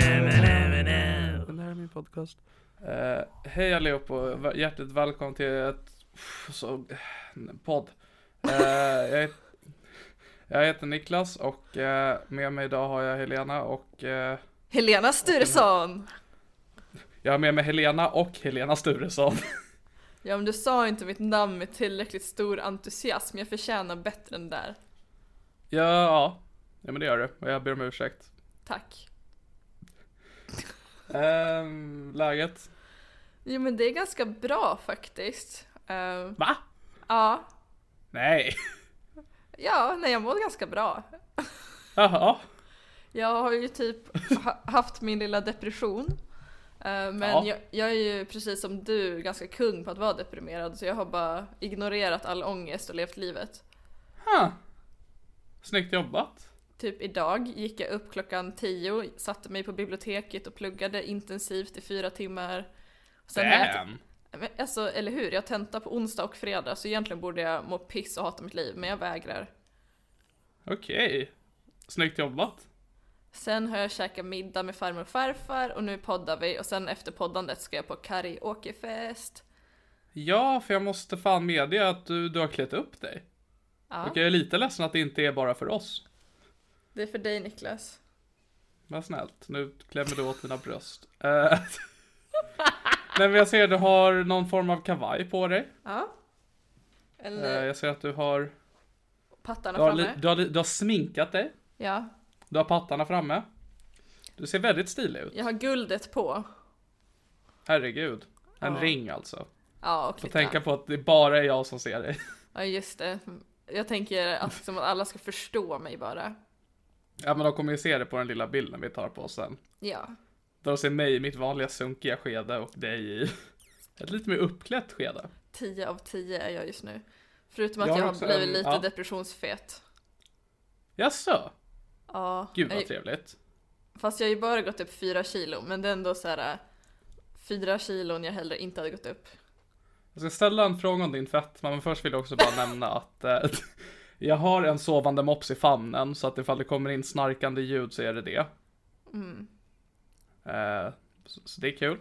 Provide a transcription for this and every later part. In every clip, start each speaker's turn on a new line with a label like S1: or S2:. S1: Den här är min podcast.
S2: Eh, hej allihop och v- hjärtligt välkommen till ett... pff, Så, en podd. Eh, jag, het- jag heter Niklas och eh, med mig idag har jag Helena och... eh,
S3: Helena Sturesson!
S2: jag har med mig Helena och Helena Sturesson.
S3: Ja men du sa inte mitt namn med tillräckligt stor entusiasm, jag förtjänar bättre än där.
S2: ja, ja, ja, men det gör du och jag ber om ursäkt.
S3: Tack.
S2: Ehm, läget?
S3: Jo men det är ganska bra faktiskt. Eh,
S2: Va?
S3: ja,
S2: Nej.
S3: ja, nej jag mår ganska bra.
S2: Jaha.
S3: Jag har ju typ ha- haft min lilla depression. Eh, Men
S2: Ja.
S3: jag, jag är ju precis som du ganska kung på att vara deprimerad så jag har bara ignorerat all ångest och levt livet.
S2: Huh. Snyggt jobbat.
S3: Typ idag gick jag upp klockan 10, satte mig på biblioteket och pluggade intensivt i fyra timmar. Sen har jag-
S2: Damn.
S3: Men Alltså, eller hur? Jag tentar på onsdag och fredag, så egentligen borde jag må piss och hata mitt liv, men jag vägrar.
S2: Okej. Snyggt jobbat.
S3: Sen har jag käkat middag med farmor och farfar och nu poddar vi och sen efter poddandet ska jag på karaokefest.
S2: Ja, för jag måste fan medge att du, du har klätt upp dig.
S3: Ja,
S2: Och jag är lite ledsen att det inte är bara för oss.
S3: det är för dig Niklas.
S2: Vad snällt, nu klämmer du åt mina bröst. Eh, Nej men jag ser du har någon form av kavaj på dig.
S3: Ja.
S2: Eh,
S3: Eller
S2: Jag ser att du har,
S3: pattarna
S2: du har,
S3: framme.
S2: li- du har, li- du har sminkat dig.
S3: Ja,
S2: Du har pattarna framme. Du ser väldigt stilig ut.
S3: jag har guldet på.
S2: Herregud. En ring alltså.
S3: Ja, och
S2: Får
S3: klittan.
S2: tänka på att det bara är jag som ser dig.
S3: Ja, just det. Jag tänker att, som att alla ska förstå mig bara.
S2: Ja men de kommer ju se det på den lilla bilden vi tar på oss sen.
S3: Ja.
S2: Där de ser mig i mitt vanliga sunkiga skede och dig i ett lite mer uppklätt skede.
S3: 10 av 10 är jag just nu. Förutom att
S2: Jag
S3: jag,
S2: har
S3: har
S2: också
S3: blivit
S2: en-
S3: lite
S2: ja.
S3: depressionsfet.
S2: Jaså?
S3: Ja.
S2: Gud vad
S3: jag-
S2: trevligt.
S3: Fast jag har ju bara gått upp fyra kilo, men det är ändå så här äh, fyra kilon jag hellre inte hade gått upp.
S2: Jag ska ställa en fråga om din fetma, men först vill jag också bara nämna att eh, jag har en sovande mops i famnen, så att ifall det kommer in snarkande ljud så är det det. Eh, så, så det är kul.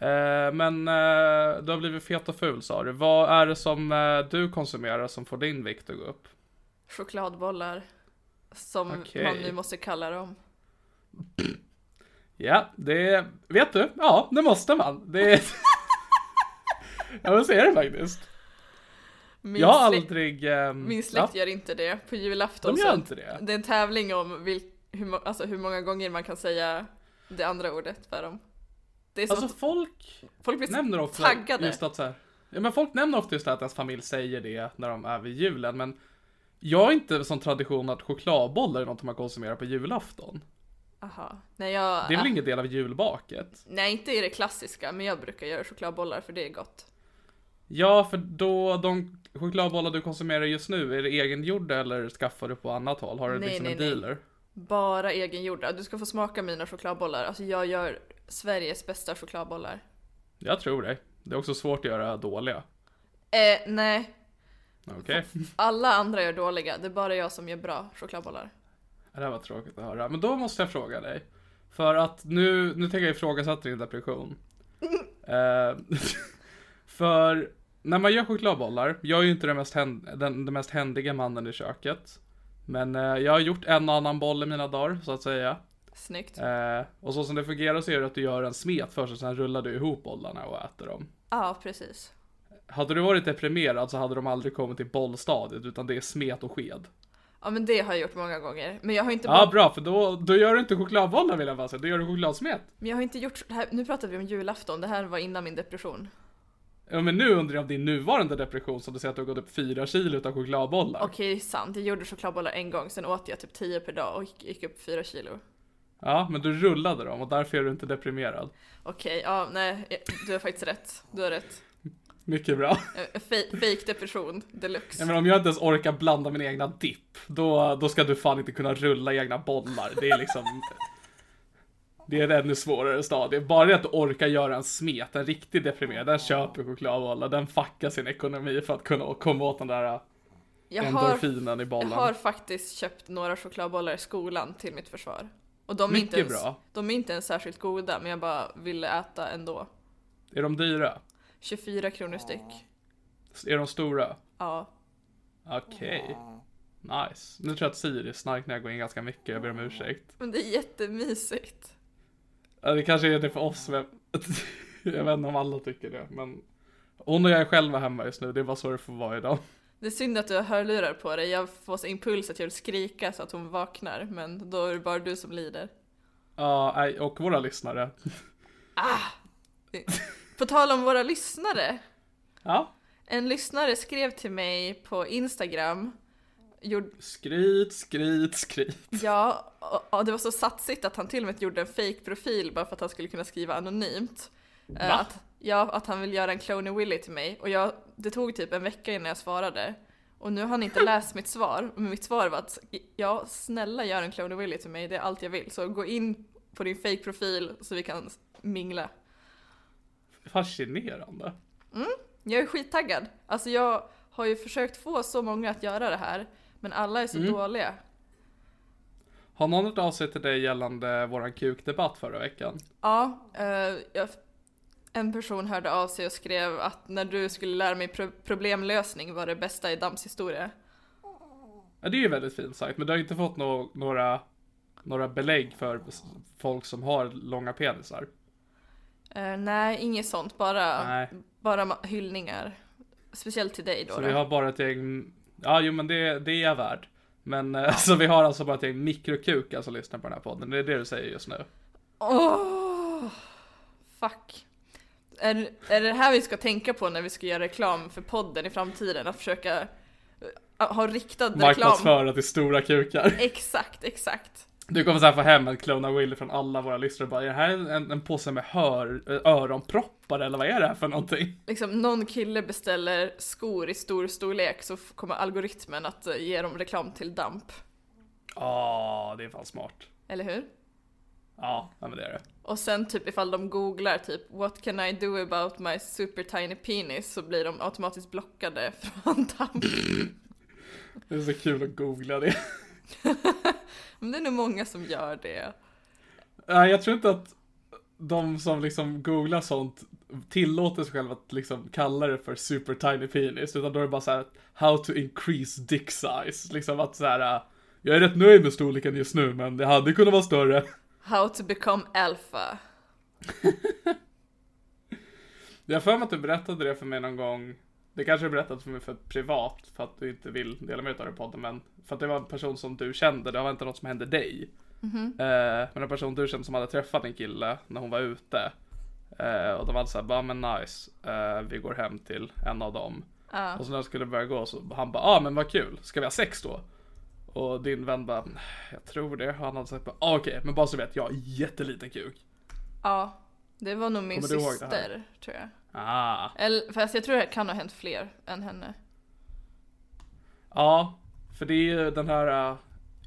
S2: Eh, men eh, du har blivit fet och ful sa du. Vad är det som eh, du konsumerar som får din vikt att gå upp?
S3: Chokladbollar, som
S2: Okej.
S3: man nu måste kalla dem.
S2: Ja, det vet du. Ja, det måste man. Det är... ja, men så är det faktiskt.
S3: Min,
S2: Jag har
S3: släkt-
S2: aldrig... ehm,
S3: min släkt gör inte det. På julafton
S2: De gör inte det?
S3: Det är en tävling om vil, hur, må- alltså hur många gånger man kan säga det andra ordet för dem. Det är
S2: Ja.
S3: som
S2: Alltså
S3: att
S2: folk
S3: folk blir
S2: nämner
S3: så
S2: ofta
S3: taggade.
S2: just att så här, ja, men folk nämner ofta just det här att ens familj säger det när de är vid julen, men jag är inte som tradition att chokladbollar är något man konsumerar på julafton.
S3: Aha. Nej, jag,
S2: Det är väl ingen del av julbaket?
S3: nej, inte i det klassiska, men jag brukar göra chokladbollar för det är gott.
S2: Ja, för då de chokladbollar du konsumerar just nu, är det egengjorda eller skaffar du på annat håll? Har du
S3: Nej,
S2: liksom
S3: nej,
S2: en
S3: nej.
S2: dealer?
S3: Bara egengjorda. Du ska få smaka mina chokladbollar. Alltså jag gör Sveriges bästa chokladbollar.
S2: Jag tror det. Det är också svårt att göra dåliga.
S3: Eh, nej.
S2: Okej,
S3: Alla andra gör dåliga, det är bara jag som gör bra chokladbollar.
S2: det här var tråkigt att höra. Men då måste jag fråga dig. För att nu, nu tänker jag ifrågasätta din depression. Eh, för när man gör chokladbollar, jag är ju inte den mest, hän, den, den mest händiga mannen i köket. Men eh, jag har gjort en och annan boll i mina dagar, så att säga.
S3: Snyggt. Ja,
S2: Eh, och så som det fungerar så är det att du gör en smet först och sen rullar du ihop bollarna och äter dem.
S3: precis.
S2: Hade du varit deprimerad så hade de aldrig kommit till bollstadiet utan det är smet och sked.
S3: Ja, men det har jag gjort många gånger. Men jag har inte,
S2: Ja
S3: bara,
S2: bra, för då, då gör du inte chokladbollar vill jag bara säga, då gör du chokladsmet.
S3: men jag har inte gjort det här. Nu pratar vi om julafton, det här var innan min depression.
S2: Ja men nu undrar jag om din nuvarande depression som du säger att du har gått upp fyra kilo utan chokladbollar.
S3: Okej, sant. Jag gjorde chokladbollar en gång, sen åt jag typ 10 per dag och gick, gick upp 4 kilo.
S2: Ja, men du rullade dem och därför är du inte deprimerad.
S3: Okej, ja, nej, jag- du har faktiskt rätt. Du har rätt.
S2: Mycket bra.
S3: Eh, Fej, fake depression
S2: Ja,
S3: deluxe.
S2: men om jag inte ens orkar blanda mina egna dipp, då, då ska du fan inte kunna rulla egna bollar. Det är liksom... Det är ett ännu svårare stadie. Bara det att du orkar göra en smet, en riktigt deprimerad, den köper chokladbollar, den fuckar sin ekonomi för att kunna komma åt den där
S3: Jag har,
S2: endorfinen i
S3: jag
S2: bollen.
S3: har faktiskt köpt några chokladbollar i skolan till mitt försvar. Och de är, inte ens,
S2: Mycket bra.
S3: de är inte ens särskilt goda, men jag bara ville äta ändå.
S2: Är de dyra?
S3: 24 kronor styck.
S2: Är de stora?
S3: Ja.
S2: Okej. Nice. Nu tror jag att Siri snarknar går in ganska mycket, jag ber om ursäkt.
S3: Men det är jättemysigt.
S2: Ja, Det kanske är det för oss, men jag vet inte om alla tycker det, men hon och jag är själva hemma just nu, det är bara så det får vara idag.
S3: Det är synd att du har hörlurar på dig. Jag får så impuls att jag vill skrika så att hon vaknar, men då är det bara du som lider.
S2: Ja, nej, och våra lyssnare.
S3: På tal om våra lyssnare.
S2: Ja,
S3: En lyssnare skrev till mig på Instagram. Gjorde,
S2: skryt, skryt, skryt.
S3: ja, och, och det var så satsigt att han till och med gjorde en fake profil bara för att han skulle kunna skriva anonymt. Eh, Att, ja, att han vill göra en Clone Willy till mig. Och jag, det tog typ en vecka innan jag svarade. Och nu har han inte läst mitt svar. Men mitt svar var att ja, snälla gör en Clone Willy till mig, det är allt jag vill. Så gå in på din fake profil så vi kan mingla.
S2: Fascinerande.
S3: Jag är skittaggad. Alltså jag har ju försökt få så många att göra det här, men alla är så dåliga.
S2: Har någon hört av sig till dig gällande våran kukdebatt förra veckan?
S3: Ja, eh, jag, en person hörde av sig och skrev att när du skulle lära mig pro- problemlösning var det bästa i Dams historia.
S2: Ja, det är ju väldigt fint sagt, men du har inte fått nå- några, några belägg för s- folk som har långa penisar.
S3: Eh, nej, inget sånt, bara,
S2: Nej.
S3: bara ma- hyllningar. Speciellt till dig då.
S2: Så
S3: då.
S2: vi har bara ett gäng, ja jo men det, det är jag värd. Men eh, så vi har alltså bara ett gäng mikrokukar som lyssnar på den här podden, det är det du säger just nu.
S3: Åh, fuck. Är, är det här vi ska tänka på när vi ska göra reklam för podden i framtiden? Att försöka eh, ha riktad reklam?
S2: Marknadsföra till stora kukar.
S3: Exakt, exakt.
S2: Du kommer så här få hem en klona Willy från alla våra lyssnare och bara, är det här en, en påse med hör, eh, öronproppar eller vad är det här för någonting?
S3: Liksom någon kille beställer skor i stor storlek så f- kommer algoritmen att eh, ge dem reklam till Damp.
S2: Ja, det är fan smart.
S3: Eller hur?
S2: Ja, ja, men det är det.
S3: Och sen typ ifall de googlar typ “What can I do about my super tiny penis?” så blir de automatiskt blockade från Damp.
S2: Det är så kul att googla det.
S3: Men det är nog många som gör det.
S2: Nej, jag tror inte att de som liksom googlar sånt tillåter sig själva att liksom kalla det för super tiny penis, utan då är det bara så här how to increase dick size, liksom att så här äh, jag är rätt nöjd med storleken just nu, men det hade kunnat vara större.
S3: How to become alpha.
S2: Jag har för mig att du berättade det för mig någon gång Det kanske är berättat för mig för privat för att du inte vill dela med dig av det i podden men för att det var en person som du kände, det var inte något som hände dig. Eh, men en person du kände som hade träffat en kille när hon var ute. Eh, och de var såhär, bara men nice, eh, vi går hem till en av dem.
S3: Ja.
S2: Och så när de skulle börja gå så han bara, ah men vad kul, ska vi ha sex då? Och din vän bara, jag tror det. Och han hade sagt, bara, ah, okej, men bara så vet jag, har jätteliten kuk.
S3: ja, det var nog min
S2: Kommer du ihåg det här?
S3: syster tror jag.
S2: Ah.
S3: Eller, fast jag tror det kan ha hänt fler än henne.
S2: Ja, för det är ju den här eh,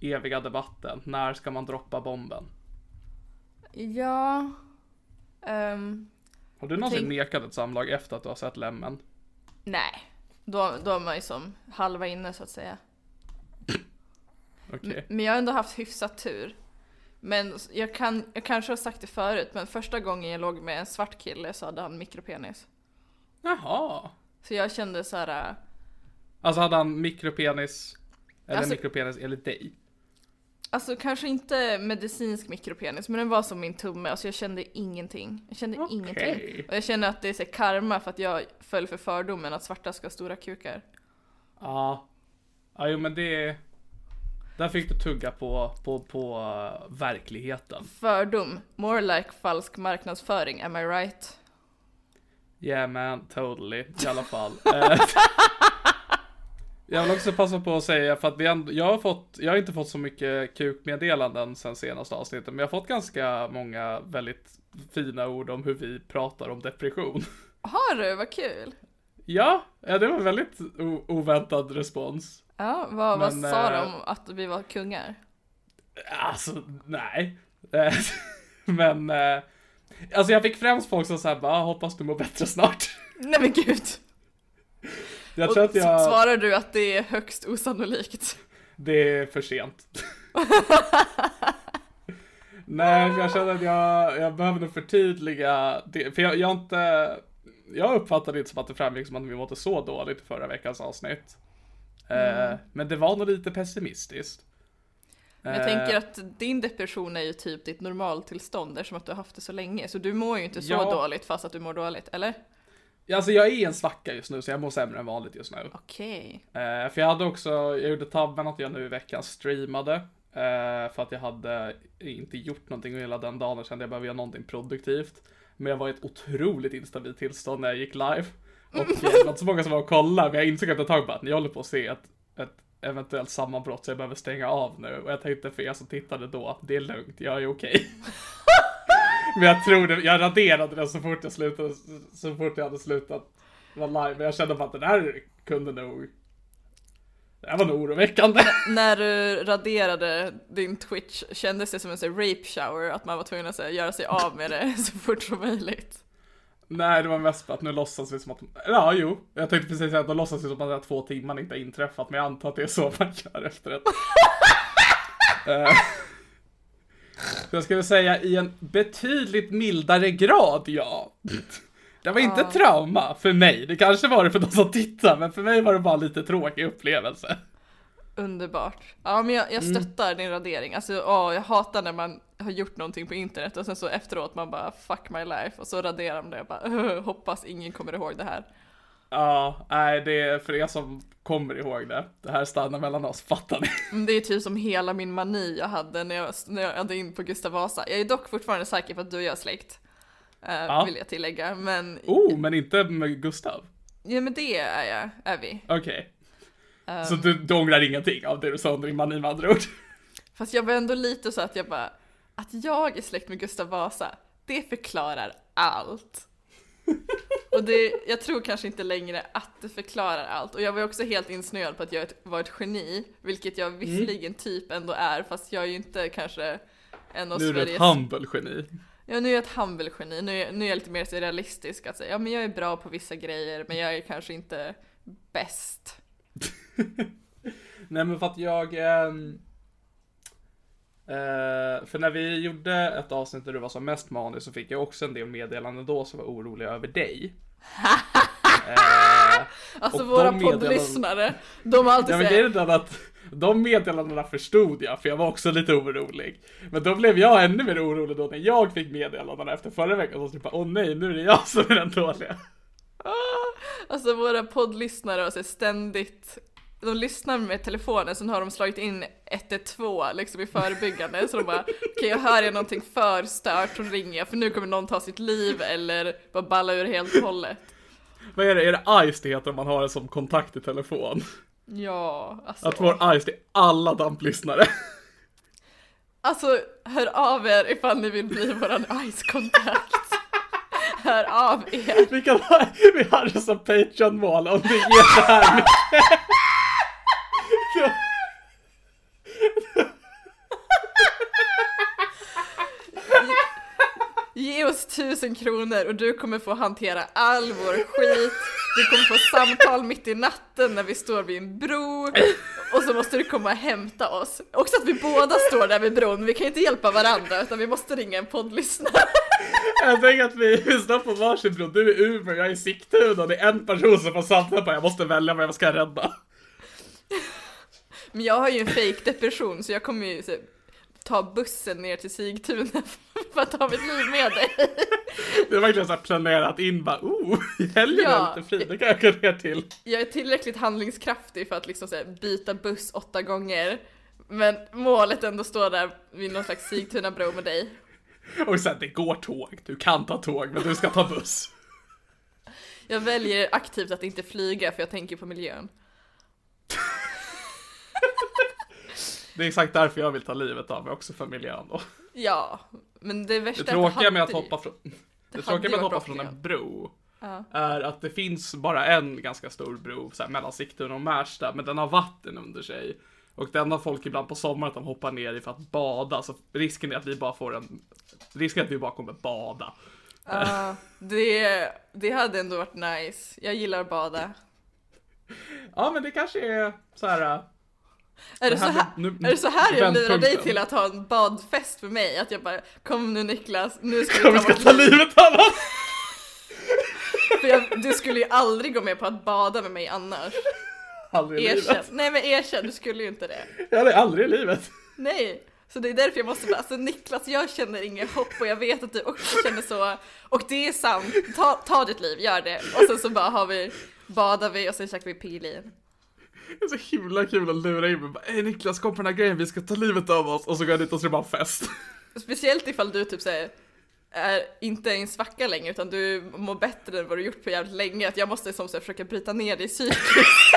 S2: eviga debatten. När ska man droppa bomben?
S3: Ja. ehm,
S2: Har du någonsin
S3: Tänk-
S2: nekat ett samlag efter att du har sett lämmen?
S3: nej, då, då är man ju som halva inne så att säga.
S2: Okej.
S3: M- Men jag har ändå haft hyfsat tur. Men s- jag, kan, jag kanske har sagt det förut, men första gången jag låg med en svart kille så hade han mikropenis.
S2: Jaha.
S3: Så jag kände så här. äh,
S2: Alltså hade han mikropenis, eller
S3: Alltså-
S2: mikropenis enligt dig?
S3: alltså kanske inte medicinsk mikropenis, men den var som min tumme, alltså jag kände ingenting. Jag kände
S2: Okej.
S3: ingenting. Och jag känner att det är så här karma för att jag föll för fördomen att svarta ska ha stora kukar.
S2: Ja. Ja, jo men det... Där fick du tugga på, på, på eh, verkligheten.
S3: Fördom, more like falsk marknadsföring, am I right?
S2: Yeah man, totally. I alla fall. Eh, jag vill också passa på att säga för att vi ändå, jag, har fått, jag har inte fått så mycket kukmeddelanden sen senaste avsnittet men jag har fått ganska många väldigt fina ord om hur vi pratar om depression.
S3: Har du, vad kul!
S2: ja, ja, det var en väldigt o- oväntad respons.
S3: Ja, vad,
S2: Men,
S3: vad
S2: eh,
S3: sa de om att vi var kungar?
S2: Alltså, nej. Eh, men, eh, alltså jag fick främst folk som såhär bara, "Ah, hoppas du mår bättre snart.
S3: Nej men gud!
S2: jag
S3: Och
S2: tror att jag,
S3: s- svarar du att det är högst osannolikt?
S2: det är för sent. Nej, jag känner att jag, jag behöver nog förtydliga det, för jag, jag har inte... Jag uppfattade det inte som att det framgick som att vi mådde så dåligt i förra veckans avsnitt. Eh,
S3: Mm.
S2: Men det var nog lite pessimistiskt.
S3: Men
S2: Eh.
S3: jag tänker att din depression är ju typ ditt normaltillstånd eftersom att du har haft det så länge. Så du mår ju inte så
S2: Ja.
S3: dåligt fast att du mår dåligt, eller?
S2: Alltså jag är i en svacka just nu, så jag mår sämre än vanligt just nu.
S3: Okej.
S2: Eh, för jag hade också, jag gjorde tabben att jag nu i veckan streamade. Eh, för att jag hade inte gjort någonting och hela den dagen och kände jag behöver göra någonting produktivt. Men jag var i ett otroligt instabilt tillstånd när jag gick live. Och eh, det var inte så många som var och kollade, men jag insåg efter ett tag bara att ni håller på att se ett, ett eventuellt sammanbrott så jag behöver stänga av nu. Och jag tänkte för er som tittade då, det är lugnt, jag är okej. men jag tror det, jag raderade den så fort jag slutade, så fort jag hade slutat vara live. Men jag kände bara att den här kunde nog det här var nog oroväckande.
S3: När du raderade din Twitch kändes det som en sån här rape shower, att man var tvungen att så här, göra sig av med det så fort som möjligt.
S2: Nej, det var mest för att nu låtsas vi som att... Ja, jo. Jag tänkte precis säga att de låtsas vi som att de här två timmarna inte har inträffat, men jag antar att det är så man gör efter ett. Eh, så jag skulle säga i en betydligt mildare grad, ja. Det var inte ett trauma för mig. Det kanske var det för de som tittar, men för mig var det bara en lite tråkig upplevelse.
S3: Underbart. Ja men jag, jag
S2: Mm.
S3: stöttar din radering. Alltså åh, jag hatar när man har gjort någonting på internet och sen så efteråt man bara fuck my life och så raderar man det och bara hoppas ingen kommer ihåg det här.
S2: Ja, nej, det är för er som kommer ihåg det. Det här stannar mellan oss, fattar ni?
S3: Men Det är typ som hela min mani jag hade när jag, när jag hade in på Gustav Vasa. Jag är dock fortfarande säker på att du och jag är släkt. eh, Vill jag tillägga. Men,
S2: Oh, men inte med Gustav.
S3: ja, men det är jag, är vi.
S2: Okej. Så
S3: Ehm.
S2: du, du ångrar ingenting av det du sa om din mani med andra ord?
S3: Fast jag var ändå lite så att jag bara, att jag är släkt med Gustav Vasa, det förklarar allt. Och det, jag tror kanske inte längre att det förklarar allt. Och jag var också helt insnöad på att jag ett- var ett geni, vilket jag
S2: Mm.
S3: visserligen typ ändå är, fast jag är ju inte kanske en av
S2: Nu är du ett
S3: Sveriges
S2: humble geni.
S3: Ja, nu är jag ett humble-geni. Nu, är- nu är jag lite mer så realistisk. Att säga, ja, men jag är bra på vissa grejer, men jag är kanske inte bäst.
S2: Nej men för att jag... ehm, eh, för när vi gjorde ett avsnitt där du var som mest manig så fick jag också en del meddelanden då som var oroliga över dig. Eh,
S3: Alltså
S2: Och de
S3: våra
S2: meddelandena-
S3: poddlyssnare, de har alltid
S2: Ja men
S3: säger,
S2: grejen är den att de meddelandena förstod jag för jag var också lite orolig. Men då blev jag ännu mer orolig då när jag fick meddelandena efter förra veckan. Så typ bara, åh nej, nu är det jag som är den dåliga.
S3: Alltså våra poddlyssnare har så ständigt, de lyssnar med telefonen, sen har de slagit in 112 liksom i förebyggande, så de bara okej jag hör jag någonting för stört så ringer jag för nu kommer någon ta sitt liv eller bara balla ur helt och hållet.
S2: Vad är det, är det Ice det heter om man har det som kontakt i telefon?
S3: Ja, alltså.
S2: Att vår Ice det är alla damplyssnare.
S3: Alltså, hör av er ifall ni vill bli våran ice-kontakt. hör av er.
S2: Vi kan ha, vi hade som Patreon-mål om vi ger det här med.
S3: Ge oss tusen kronor och du kommer få hantera all vår skit. Du kommer få samtal mitt i natten när vi står vid en bro. Och så måste du komma och hämta oss. Också att vi båda står där vid bron, vi kan ju inte hjälpa varandra utan vi måste ringa en poddlyssnare.
S2: Jag tänker att vi, vi står på varsin bro. Du är Umeå, jag är Sigtuna. Det är en person som får samtal på. Jag måste välja vad jag ska rädda.
S3: Men jag har ju en fake depression så jag kommer ju så, ta bussen ner till Sigtuna för att ta mitt liv med dig.
S2: Det är verkligen så här planerat in bara, oh, i helgen är
S3: Ja.
S2: jag lite fri. Det kan jag gå ner till.
S3: Jag är tillräckligt handlingskraftig för att liksom så här, byta buss åtta gånger. Men målet ändå står där vid någon slags Sigtuna-bro med dig.
S2: Och sen, det går tåg. Du kan ta tåg, men du ska ta buss.
S3: Jag väljer aktivt att inte flyga för jag tänker på miljön.
S2: Det är exakt därför jag vill ta livet av mig också för miljön då.
S3: Ja, men det värsta
S2: Det
S3: är att
S2: tråkiga med att
S3: hade ju-
S2: hoppa från, det
S3: hade
S2: tråkiga
S3: ju
S2: med att
S3: varit
S2: hoppa
S3: bra
S2: från
S3: för
S2: en bro
S3: Ja.
S2: är att det finns bara en ganska stor bro så här, mellan Sigtuna och Märsta, men den har vatten under sig. Och den har folk ibland på sommaren att de hoppar ner i för att bada, så risken är att vi bara får en... Risken är att vi bara kommer bada.
S3: Ja, det, det hade ändå varit nice. Jag gillar att bada.
S2: Ja, men det kanske är så här... äh,
S3: Är det,
S2: Det
S3: så
S2: här
S3: här,
S2: blir- nu-
S3: är det så här jag lurar dig
S2: vändpunkten.
S3: till att ha en badfest för mig? Att jag bara, kom nu Niklas, nu ska vi ta
S2: Vi ska
S3: vårt
S2: ta livet av oss!
S3: För jag, du skulle ju aldrig gå med på att bada med mig annars.
S2: Aldrig i
S3: Erkänn.
S2: livet.
S3: Nej men erkänn, du skulle ju inte det.
S2: Ja, det är aldrig i livet.
S3: Nej. Så det är därför jag måste bara, alltså Niklas jag känner inget hopp och jag vet att du också känner så. Och det är sant, ta, ta ditt liv, gör det. Och sen så bara har vi, badar vi och sen käkar vi pilin.
S2: Det är så himla kul att lura in mig. Bara, Hej Niklas, kom på den här grejen, vi ska ta livet av oss. Och så går jag dit och så är det bara fest.
S3: Speciellt ifall du typ säger är inte i en svacka längre utan du mår bättre än vad du gjort på jävligt länge. Att jag måste som så här, försöka bryta ner dig psykiskt.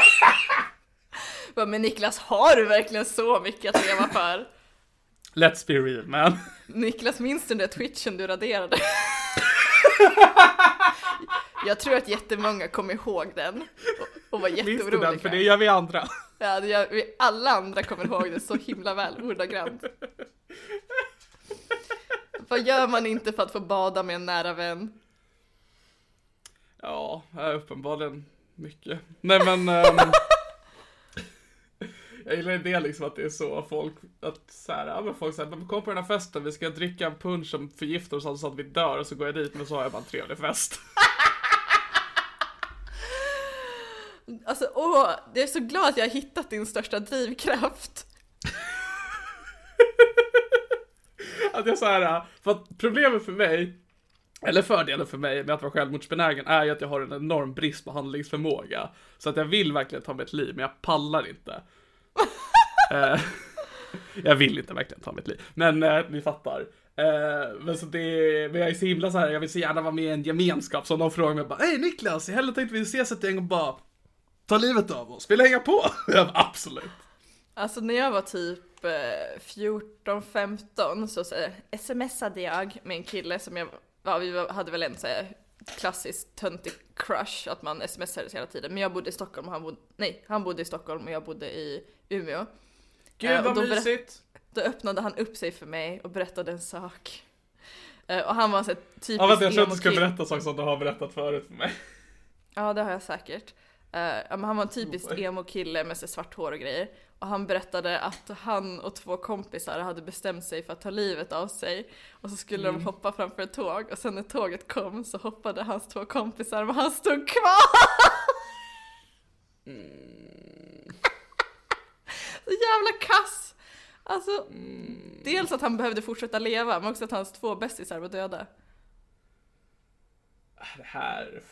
S3: Bara, Men Niklas, har du verkligen så mycket att leva för?
S2: Let's be real man.
S3: Niklas, minns du den där twitchen du raderade? Jag tror att jättemånga kom ihåg den och- och var
S2: Minns du den? För det
S3: jätteoroliga.
S2: gör vi andra.
S3: Ja, det gör, vi alla andra kommer ihåg den så himla väl, ordagrant. Vad gör man inte för att få bada med en nära vän?
S2: Ja, det är uppenbarligen mycket. Nej men... ehm, jag gillar det liksom att det är så folk, att så här, ja, men folk säger men kom på den här festen, vi ska dricka en punch som förgiftar oss så att vi dör och så går jag dit men så har jag bara en trevlig fest.
S3: Alltså, åh, jag är så glad att jag har hittat din största drivkraft.
S2: Att jag så här, äh, för att problemet för mig, eller fördelen för mig med att vara självmordsbenägen är ju att jag har en enorm brist på handlingsförmåga. Så att jag vill verkligen ta mitt liv, men jag pallar inte. eh, jag vill inte verkligen ta mitt liv, men eh, ni fattar. Eh, men, så det, men jag är så himla så här, jag vill så gärna vara med i en gemenskap. Så om någon frågar mig bara, hej Niklas, i helgen tänkte vi ses ett gäng och bara ta livet av oss, vill du hänga på? jag bara, absolut.
S3: Alltså när jag var typ eh, 14-15 så, så eh, smsade jag med en kille som jag, ja, vi var- hade väl en så här, klassisk töntig crush att man smsades hela tiden. Men jag bodde i Stockholm och han bodde, nej han bodde i Stockholm och jag bodde i Umeå. Eh, och då berä- Då öppnade han upp sig för mig och berättade en sak. Eh, och han var en så här typisk
S2: Ja, vänta, jag trodde du skulle
S3: emo-kille.
S2: berätta saker som du har berättat förut för mig.
S3: Ja, det har jag säkert. Eh, ja, men han var en typisk
S2: Oj.
S3: emo-kille med sig svart hår och grejer. Och han berättade att han och två kompisar hade bestämt sig för att ta livet av sig. Och så skulle de hoppa framför ett tåg och sen när tåget kom så hoppade hans två kompisar men han stod kvar! så jävla kass! Alltså, dels att han behövde fortsätta leva men också att hans två bästisar var döda.
S2: Det här...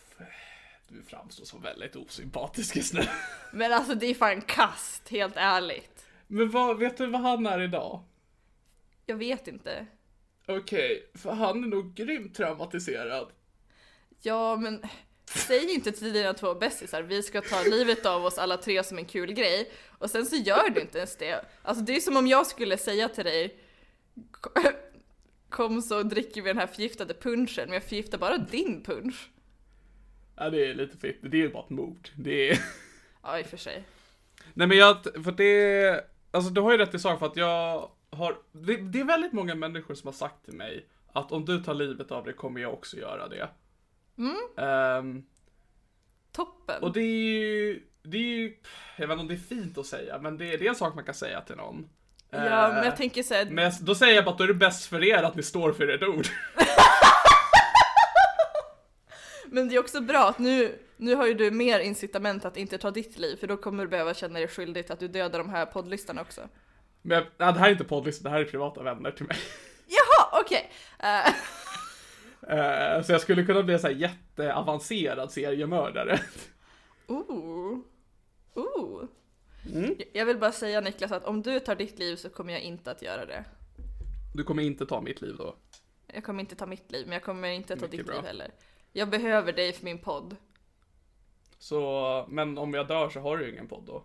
S2: Du framstår som väldigt osympatisk nu.
S3: Men alltså det är fan kast, helt ärligt.
S2: Men vad, vet du vad han är idag?
S3: Jag vet inte.
S2: Okej, för han är nog grymt traumatiserad.
S3: Ja, men säg inte till dina två bästisar vi ska ta livet av oss alla tre som en kul grej och sen så gör du inte ens det. Alltså det är som om jag skulle säga till dig "Ko- kom så dricker vi den här förgiftade punchen men jag förgiftar bara din punch.
S2: Ja, det är lite fitt. Det är ju bara ett mord. Det är...
S3: Ja i och för sig.
S2: Nej men jag, för det, alltså du har ju rätt i sak för att jag har, det, det är väldigt många människor som har sagt till mig att om du tar livet av dig kommer jag också göra det. Ehm,
S3: Toppen.
S2: och det är ju, det är ju, jag vet inte om det är fint att säga, men det, det är en sak man kan säga till någon.
S3: ja men
S2: Eh,
S3: jag tänker såhär,
S2: men jag- då säger jag bara att då är det bäst för er att ni står för ert ord.
S3: men det är också bra att nu, nu har ju du mer incitament att inte ta ditt liv för då kommer du behöva känna dig skyldig till att du dödar de här poddlyssnarna också.
S2: Men jag, nej, det här är inte poddlistan, det här är privata vänner till mig.
S3: Jaha okej! Eh,
S2: Eh, så jag skulle kunna bli en sån här jätteavancerad seriemördare.
S3: Ooh. Ooh.
S2: Mm.
S3: Jag- Jag vill bara säga Niklas att om du tar ditt liv så kommer jag inte att göra det.
S2: Du kommer inte ta mitt liv då.
S3: Jag kommer inte ta mitt liv, men jag kommer inte ta
S2: Mycket
S3: ditt
S2: bra.
S3: liv heller. Jag behöver dig för min podd.
S2: Så, men om jag dör så har du ju ingen podd då.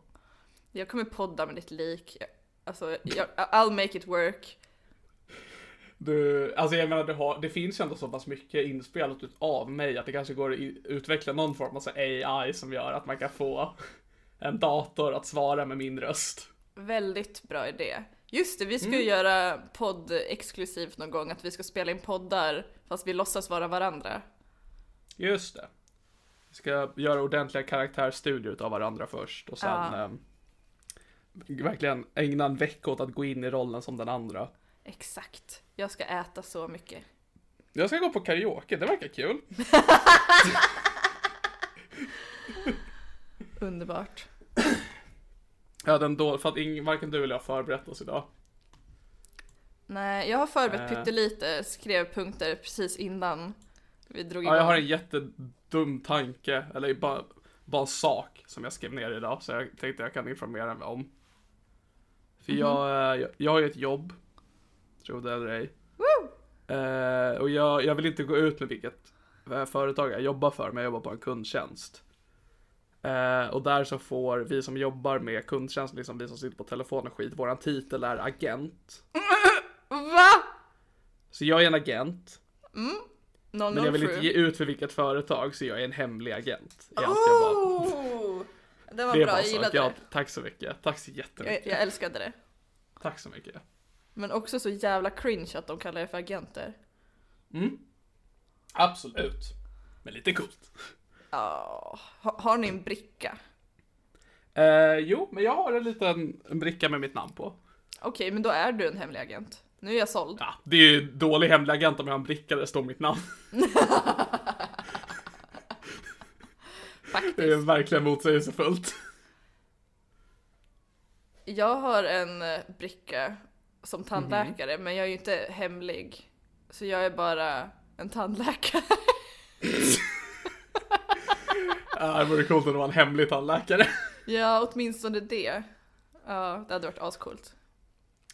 S3: Jag kommer podda med ditt lik. Jag- Alltså, jag, I'll make it work.
S2: Du, alltså jag menar, du har, det finns ju ändå så pass mycket inspelat av mig att det kanske går att i- utveckla någon form av så AI som gör att man kan få en dator att svara med min röst.
S3: Väldigt bra idé. Just det, vi ska ju
S2: Mm.
S3: göra podd exklusivt någon gång, att vi ska spela in poddar fast vi låtsas vara varandra.
S2: Just det. Vi ska göra ordentliga karaktärstudier utav varandra först och sen
S3: Ja.
S2: ehm, verkligen ägna en vecka åt att gå in i rollen som den andra.
S3: Exakt. Jag ska äta så mycket.
S2: Jag ska gå på karaoke, det verkar kul.
S3: Underbart.
S2: Ja, den då, för att ing, varken du eller jag förberett oss idag.
S3: Nej, jag har förberett
S2: Eh.
S3: pyttelite skrivpunkter precis innan vi drog igång.
S2: Ja, jag har en jättedum tanke, eller bara, bara en sak som jag skrev ner idag, så jag tänkte jag kan informera mig om. För jag, eh, jag, jag har ju ett jobb, tro det eller ej.
S3: Woo!
S2: Eh, och jag, jag vill inte gå ut med vilket eh, företag jag jobbar för, men jag jobbar på en kundtjänst. Eh, och där så får vi som jobbar med kundtjänst, liksom vi som sitter på telefon och skit, våran titel är agent.
S3: Va?
S2: Så jag är en agent, men jag vill inte
S3: 007.
S2: ge ut för vilket fötöag, så jag är en hemlig agent. I allt jag bara-
S3: Oh! Det var
S2: Det
S3: bra,
S2: var
S3: jag
S2: så.
S3: gillade
S2: ja,
S3: det.
S2: Tack så mycket. Tack så
S3: Jag,
S2: jättemycket.
S3: jag älskade det.
S2: Tack så mycket.
S3: Men också så jävla cringe att de kallar er för agenter.
S2: Absolut. Men lite coolt.
S3: Ja, ha, har ni en bricka?
S2: Eh, jo, men jag har en liten en bricka med mitt namn på.
S3: Okej, men då är du en hemlig agent. Nu är jag såld.
S2: Ja, det är ju dålig hemlig agent om jag har en bricka där det står mitt namn. Det är
S3: Faktiskt.
S2: verkligen motsägelsefullt.
S3: Jag har en eh, bricka som
S2: Mhm.
S3: tandläkare, men jag är ju inte hemlig. Så jag är bara en tandläkare.
S2: Ja, det vore coolt om det var en hemlig tandläkare.
S3: Ja, åtminstone det. Ja, det hade varit ascoolt.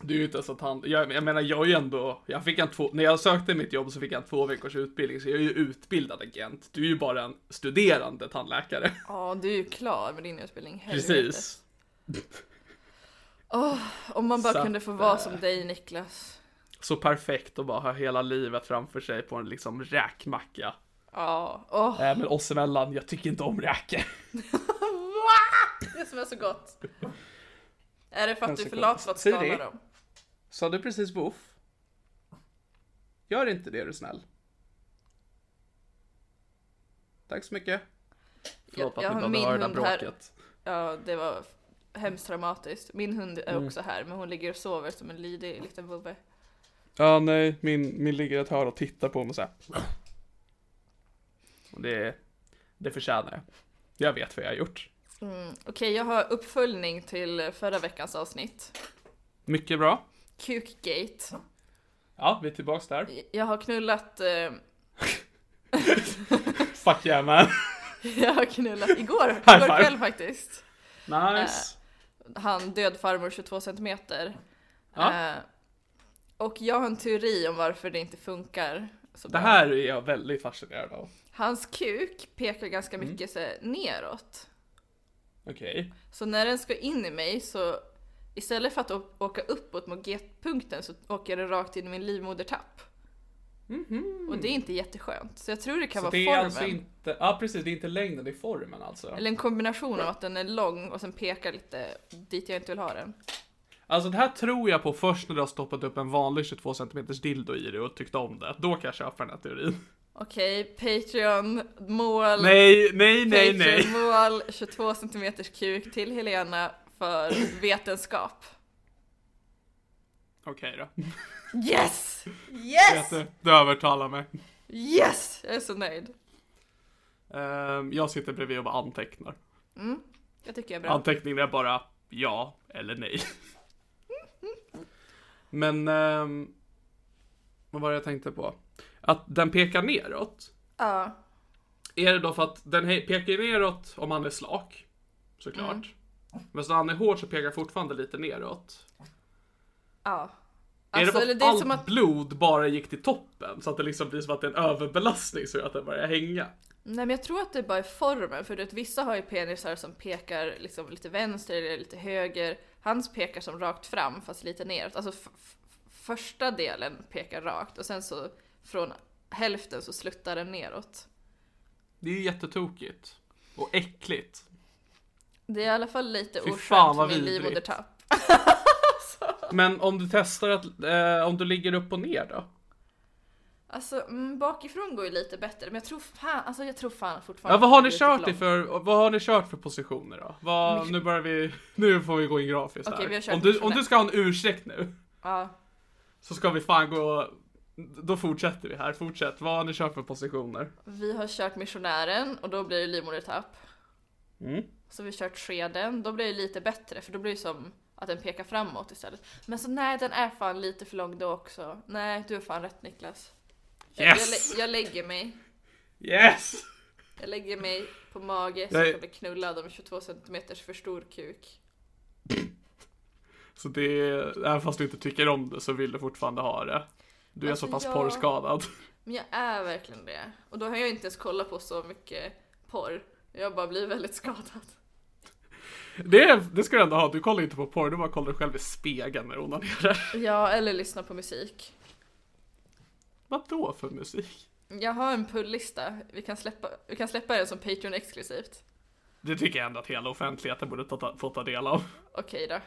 S2: Du är ju inte ens en tand... Jag, jag menar, jag är ju ändå... Jag fick en två... När jag sökte mitt jobb så fick jag en två veckors utbildning, så jag är ju utbildad agent. Du är ju bara en studerande tandläkare.
S3: Ja, du är ju klar med din utbildning. helvete.
S2: Precis.
S3: Om man bara
S2: Så
S3: kunde
S2: att,
S3: få vara
S2: eh,
S3: som dig Niklas.
S2: Så perfekt att bara ha hela livet framför sig på en liksom räkmacka.
S3: Ja, åh.
S2: Äh, men oss emellan, jag tycker inte om räkor.
S3: Det som är så gott. Är det för
S2: En
S3: att du är för
S2: sekund.
S3: lat för att
S2: Säg
S3: skala
S2: det.
S3: dem?
S2: Sa du precis woof? Gör inte det är du snäll. Tack så mycket. Förlåt
S3: jag
S2: att ni behövde
S3: har min
S2: höra det där
S3: hund här.
S2: bråket.
S3: Ja, det var hemskt traumatiskt. Min hund är
S2: Mm.
S3: också här, men hon ligger och sover som en lydig liten vovve.
S2: Ja, nej, min, min ligger i ett hörn och tittar på mig så här. Och det, det förtjänar jag. Jag vet vad jag har gjort.
S3: Mm. Okej, jag har uppföljning till förra veckans avsnitt.
S2: Mycket bra.
S3: Kukgate.
S2: Ja, vi är tillbaks där.
S3: Jag har knullat eh,
S2: Fuck yeah man.
S3: Jag har knullat igår,
S2: High
S3: igår
S2: five.
S3: kväll faktiskt.
S2: Nice.
S3: Han död farmor 22 centimeter.
S2: Ja.
S3: Eh, och jag har en teori om varför det inte funkar. Så
S2: Det
S3: bra.
S2: här är jag väldigt fascinerad av.
S3: Hans kuk pekar ganska
S2: Mm.
S3: mycket så här, neråt.
S2: Okej.
S3: Så när den ska in i mig så istället för att å- åka uppåt mot G-punkten så åker den rakt in i min livmodertapp. Och det är inte jätteskönt. Så jag tror det kan
S2: Mhm. Så
S3: vara
S2: det är
S3: formen.
S2: alltså inte, ja precis, det är inte längden, det är formen alltså.
S3: Eller en kombination av att den är lång och sen pekar lite dit jag inte vill ha den.
S2: Alltså det här tror jag på först när du har stoppat upp en vanlig 22 cm dildo i det och tyckt om det. Då kan jag köpa den här teorin.
S3: Mm. Okej, Patreon, mål,
S2: Nej, nej, nej, nej.
S3: Patreon-mål, 22 cm kuk till Helena för vetenskap.
S2: Okej då.
S3: Yes!
S2: Vet
S3: Yes!
S2: du, du övertalar mig.
S3: Yes! Jag är så nöjd.
S2: Ehm, jag sitter bredvid och bara antecknar.
S3: Jag tycker jag är bra.
S2: Anteckningarna är bara ja eller nej. Men, ehm, vad var det jag tänkte på? Att den pekar neråt.
S3: Ja.
S2: Är det då för att den he- pekar ju neråt om han är slak? Såklart.
S3: Mm.
S2: Men så när han är hård så pekar han fortfarande lite neråt.
S3: ja.
S2: är det för
S3: Alltså, eller
S2: att allt blod bara gick till toppen? Så att det liksom blir som att det är en överbelastning så att den börjar hänga?
S3: Nej men jag tror att det bara är formen, för du vet vissa har ju penisar som pekar liksom lite vänster eller lite höger. Hans pekar som rakt fram fast lite neråt. Alltså f- f- första delen pekar rakt och sen så från hälften så sluttar den neråt.
S2: Det är ju jättetokigt. Och äckligt.
S3: Det är i alla fall lite
S2: Fy fan,
S3: oskönt
S2: vad
S3: med
S2: vidrigt.
S3: livmodertapp.
S2: Men om du testar att, eh, om du ligger upp och ner då?
S3: Alltså mm, bakifrån går ju lite bättre, men jag tror fan, alltså jag tror fan fortfarande
S2: Ja, vad har
S3: att
S2: ni
S3: det är
S2: kört
S3: lite
S2: i för, vad har ni kört för positioner då? Vad, nu börjar vi, nu får vi gå in grafiskt
S3: Okej, vi
S2: här.
S3: har kört
S2: Om du,
S3: från
S2: om du
S3: ett.
S2: ska ha en ursäkt nu,
S3: Ja.
S2: så ska vi fan gå, då fortsätter vi här, fortsätt. Vad har ni kört för positioner?
S3: Vi har kört missionären och då blir det livmodertapp.
S2: Mm.
S3: Så vi har kört skeden, då blir det lite bättre för då blir det som att den pekar framåt istället. Men så nej, den är fan lite för lång då också. Nej, du är fan rätt Niklas. Jag-
S2: Yes!
S3: Jag, lä- jag lägger mig.
S2: Yes!
S3: Jag lägger mig på mage så
S2: Jag är-
S3: jag kan bli knullad av en 22 cm för stor kuk.
S2: Så det, är- även fast du inte tycker om det så vill du fortfarande ha det. Du är
S3: Alltså,
S2: så pass
S3: jag-
S2: porrskadad.
S3: Men jag är verkligen det. Och då har jag inte ens kollat på så mycket porr. Jag bara blir väldigt skadad.
S2: Det, är- det ska du ändå ha, du kollar inte på porr, du bara kollar dig själv i spegeln när du onanerar.
S3: Ja, eller lyssna på musik.
S2: Vad då för musik?
S3: Jag har en pullista. Vi kan släppa, vi kan släppa den som Patreon exklusivt.
S2: Det tycker jag ändå att hela offentligheten borde ta, ta, få ta del av.
S3: Okej då.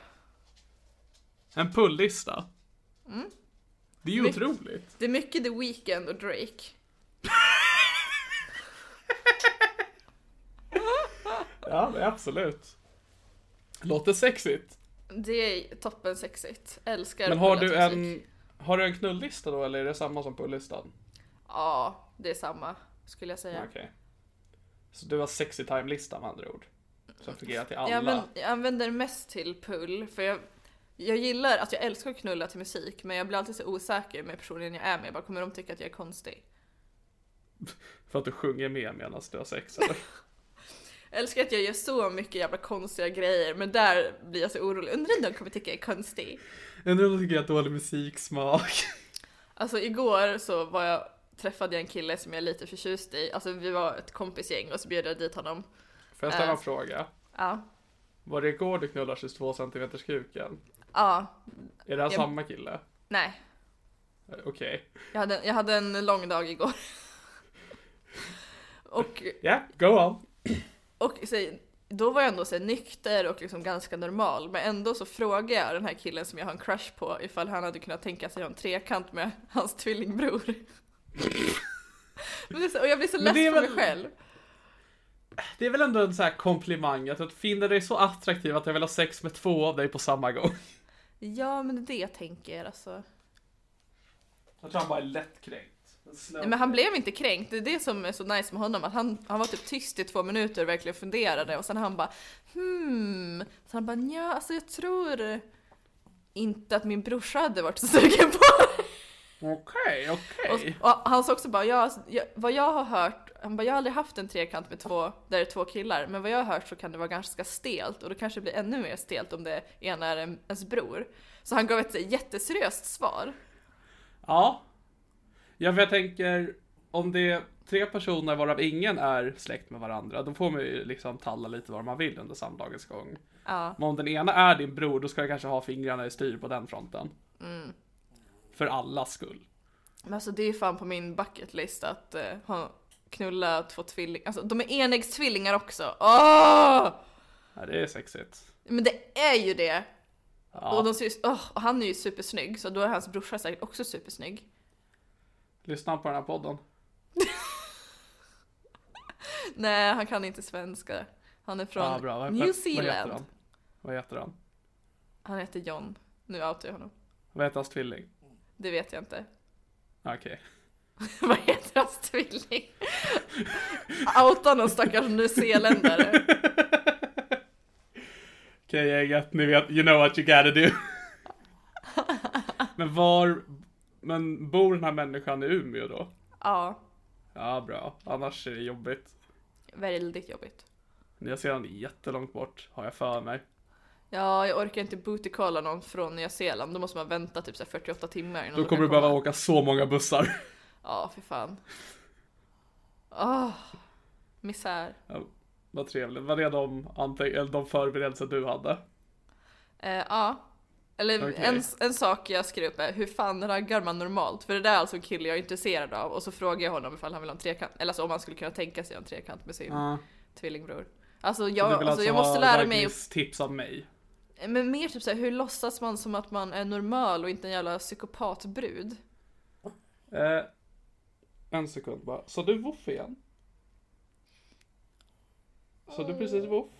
S2: En pullista.
S3: Mm.
S2: Det är ju
S3: Mycket.
S2: otroligt.
S3: Det är mycket The Weeknd och Drake.
S2: Ja, men absolut. Låter sexigt.
S3: Det är toppen sexigt. Älskar
S2: Men har
S3: pullat
S2: du
S3: musik.
S2: en, har du en knullista då eller är det samma som pullistan?
S3: Ja, det är samma skulle jag säga.
S2: Okej. Så du har sexy time-lista med andra ord? Som fungerar till alla?
S3: Jag, använder, jag använder mest till pull för jag, jag gillar, alltså jag älskar att knulla till musik men jag blir alltid så osäker med personen jag är med. Jag bara, kommer de tycka att jag är konstig?
S2: För att du sjunger med medan du har sex eller?
S3: Jag älskar att jag gör så mycket jävla konstiga grejer men där blir jag så orolig. Undrar om de kommer tycka jag är konstig?
S2: Undrar om du tycker jag har dålig musiksmak?
S3: Alltså igår så var jag, träffade jag en kille som jag är lite förtjust i. Alltså vi var ett kompisgäng och så bjöd jag dit honom.
S2: Får jag ställa en
S3: Äh.
S2: fråga?
S3: Ja.
S2: Var det igår du knullade 22 cm kuken?
S3: Ja.
S2: Är det här
S3: Ja.
S2: samma kille?
S3: Nej.
S2: Eh, Okej.
S3: Jag hade, jag hade en lång dag igår. och
S2: Ja, go on.
S3: och så, då var jag ändå så här, nykter och liksom ganska normal. Men ändå så frågade jag den här killen som jag har en crush på ifall han hade kunnat tänka sig ha en trekant med hans tvillingbror. Men det är så, och jag blir så
S2: Men
S3: less
S2: det är
S3: på mig
S2: väl-
S3: själv.
S2: Det är väl ändå en sån här komplimang att jag finner dig så attraktiv att jag vill ha sex med två av dig på samma gång.
S3: Ja men det är det jag tänker alltså.
S2: Jag tror han bara är lättkränkt.
S3: Nej, men han blev inte kränkt, det är det som är så nice med honom. Att han, han var typ tyst i två minuter och verkligen funderade och sen han bara hmm. Så han bara ja, alltså jag tror inte att min brorsa hade varit så sugen på det.
S2: Okej, okej.
S3: Och, och han sa också bara ja, alltså, jag, vad jag har hört han bara, jag har aldrig haft en trekant med två, där det är två killar, men vad jag har hört så kan det vara ganska stelt och då kanske det blir ännu mer stelt om det ena är en- ens bror. Så han gav ett så jätteseriöst svar.
S2: Ja. Ja, för jag tänker om det är tre personer varav ingen är släkt med varandra, då får man ju liksom talla lite vad man vill under samlagets gång.
S3: Ja,
S2: Men om den ena är din bror, då ska du kanske ha fingrarna i styr på den fronten.
S3: Mm.
S2: För allas skull.
S3: men alltså det är fan på min bucket list att eh, ha, knulla två tvillingar, alltså de är enäggstvillingar också. Åh!
S2: Ja, det är sexigt.
S3: Men det är ju det!
S2: Ja.
S3: Och, de ser, ju- åh, och han är ju supersnygg, så då är hans brorsa säkert också supersnygg.
S2: Lyssna på den här podden.
S3: Nej, han kan inte svenska. Han är från
S2: ja, bra. Vad-
S3: New
S2: vad- Vad heter
S3: Zealand.
S2: han? Vad heter han?
S3: Han heter John. Nu outar jag honom.
S2: Vad heter hans tvilling?
S3: Det vet jag inte.
S2: Okej.
S3: Vad heter hans tvilling? Outa någon stackars nyzeeländare.
S2: Okej gänget, ni vet, you know what you gotta do. men var, men bor den här människan i Umeå då?
S3: Ja,
S2: Ja, bra. Annars är det jobbigt.
S3: väldigt jobbigt.
S2: Nya Zeeland är jättelångt bort, har jag för mig.
S3: Ja, jag orkar inte bootycalla någon från Nya Zeeland. Då måste man vänta typ så här 48 timmar innan
S2: Då kommer
S3: de kan
S2: du behöva
S3: komma.
S2: åka så många bussar.
S3: Ja, för fan. Åh, misär.
S2: Ja, vad trevligt. Var det de, anteg- eller de förberedelser du hade?
S3: Eh, ja. Eller
S2: Okej.
S3: en, en sak jag skrev upp är hur fan raggar man normalt? För det där är alltså en kille jag är intresserad av och så frågar jag honom ifall han vill ha en trekant, eller alltså om han skulle kunna tänka sig en trekant med sin tvillingbror. Alltså jag,
S2: Du
S3: alltså
S2: vill
S3: jag
S2: ha
S3: måste lära mig
S2: Ragnhilds tips av mig.
S3: Men mer typ såhär, hur låtsas man som att man är normal och inte en jävla psykopatbrud?
S2: Eh, en sekund bara. Så du woof igen? Så du precis woof?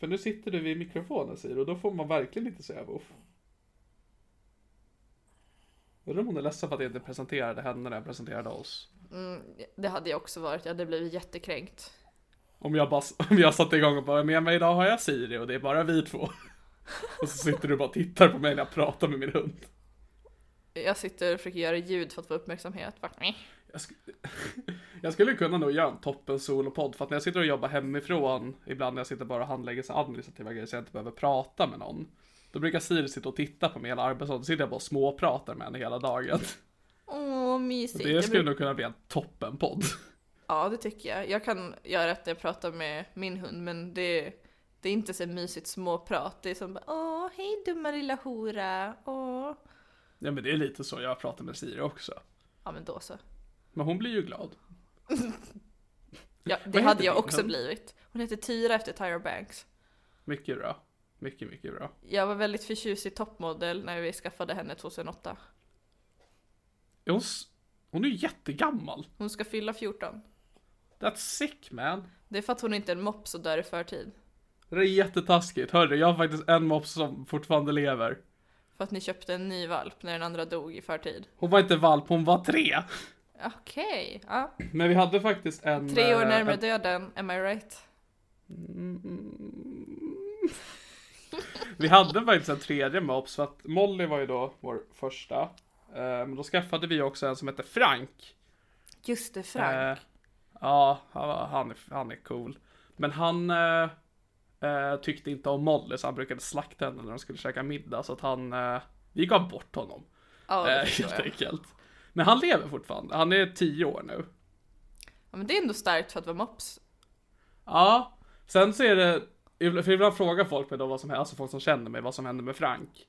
S2: För nu sitter du vid mikrofonen säger du, och då får man verkligen inte säga woof. Undrar om hon är ledsen för att jag inte presenterade henne när jag presenterade oss.
S3: Det hade jag också varit, jag hade blivit jättekränkt.
S2: Om jag, bara, om jag satte igång och bara, med mig idag har jag Siri och det är bara vi två. Och så sitter du och bara och tittar på mig när jag pratar med min hund.
S3: Jag sitter och försöker göra ljud för att få uppmärksamhet. Bara, "Meh."
S2: Jag, sk- jag skulle kunna nog göra en toppen solopodd för att när jag sitter och jobbar hemifrån ibland när jag sitter bara och handlägger så administrativa grejer så jag inte behöver prata med någon. Då brukar Siri sitta och titta på mig hela arbetsdagen, då sitter jag bara och småpratar med henne hela dagen.
S3: Åh,
S2: Så
S3: mysigt.
S2: det
S3: Jag
S2: skulle
S3: bruk-
S2: nog kunna bli en toppenpodd.
S3: Ja, det tycker jag. Jag kan göra att jag pratar med min hund, men det, det är inte så mysigt småprat. Det är som bara, åh, hej dumma lilla hora, åh.
S2: Ja men det är lite så jag pratar med Siri också.
S3: Ja, men då så.
S2: Men hon blir ju glad.
S3: Ja, det
S2: heter
S3: hade jag
S2: din
S3: också
S2: hund?
S3: blivit. Hon heter Tyra efter Tyra Banks.
S2: Mycket bra. Mycket, mycket bra.
S3: Jag var väldigt förtjust i toppmodell när vi skaffade henne 2008.
S2: Är Hon, s- hon är ju jättegammal.
S3: Hon ska fylla 14.
S2: That's sick man.
S3: Det är för att hon inte är en mops och dör i förtid.
S2: Det där är jättetaskigt. Hörru, jag har faktiskt en mops som fortfarande lever.
S3: För att ni köpte en ny valp när den andra dog i förtid.
S2: Hon var inte valp, hon var tre.
S3: Okej, ja.
S2: Men vi hade faktiskt en...
S3: Tre år
S2: eh,
S3: närmare
S2: en-
S3: döden, am I right?
S2: Vi hade faktiskt en tredje mops för att Molly var ju då vår första. Eh, Men då skaffade vi också en som hette Frank.
S3: Just det,
S2: Eh,
S3: Frank.
S2: Ja, han, var- han, är, han är cool. Men han eh, eh, tyckte inte om Molly så han brukade slakta henne när de skulle käka middag så att han... eh, Vi gav bort honom.
S3: ja,
S2: eh,
S3: det förstår
S2: helt
S3: jag.
S2: enkelt. Men han lever fortfarande. Han är tio år nu.
S3: Ja, men det är ändå starkt för att vara mops.
S2: Ja, sen så är det, för ibland frågar folk mig då vad som händer, alltså folk som känner mig, vad som händer med Frank.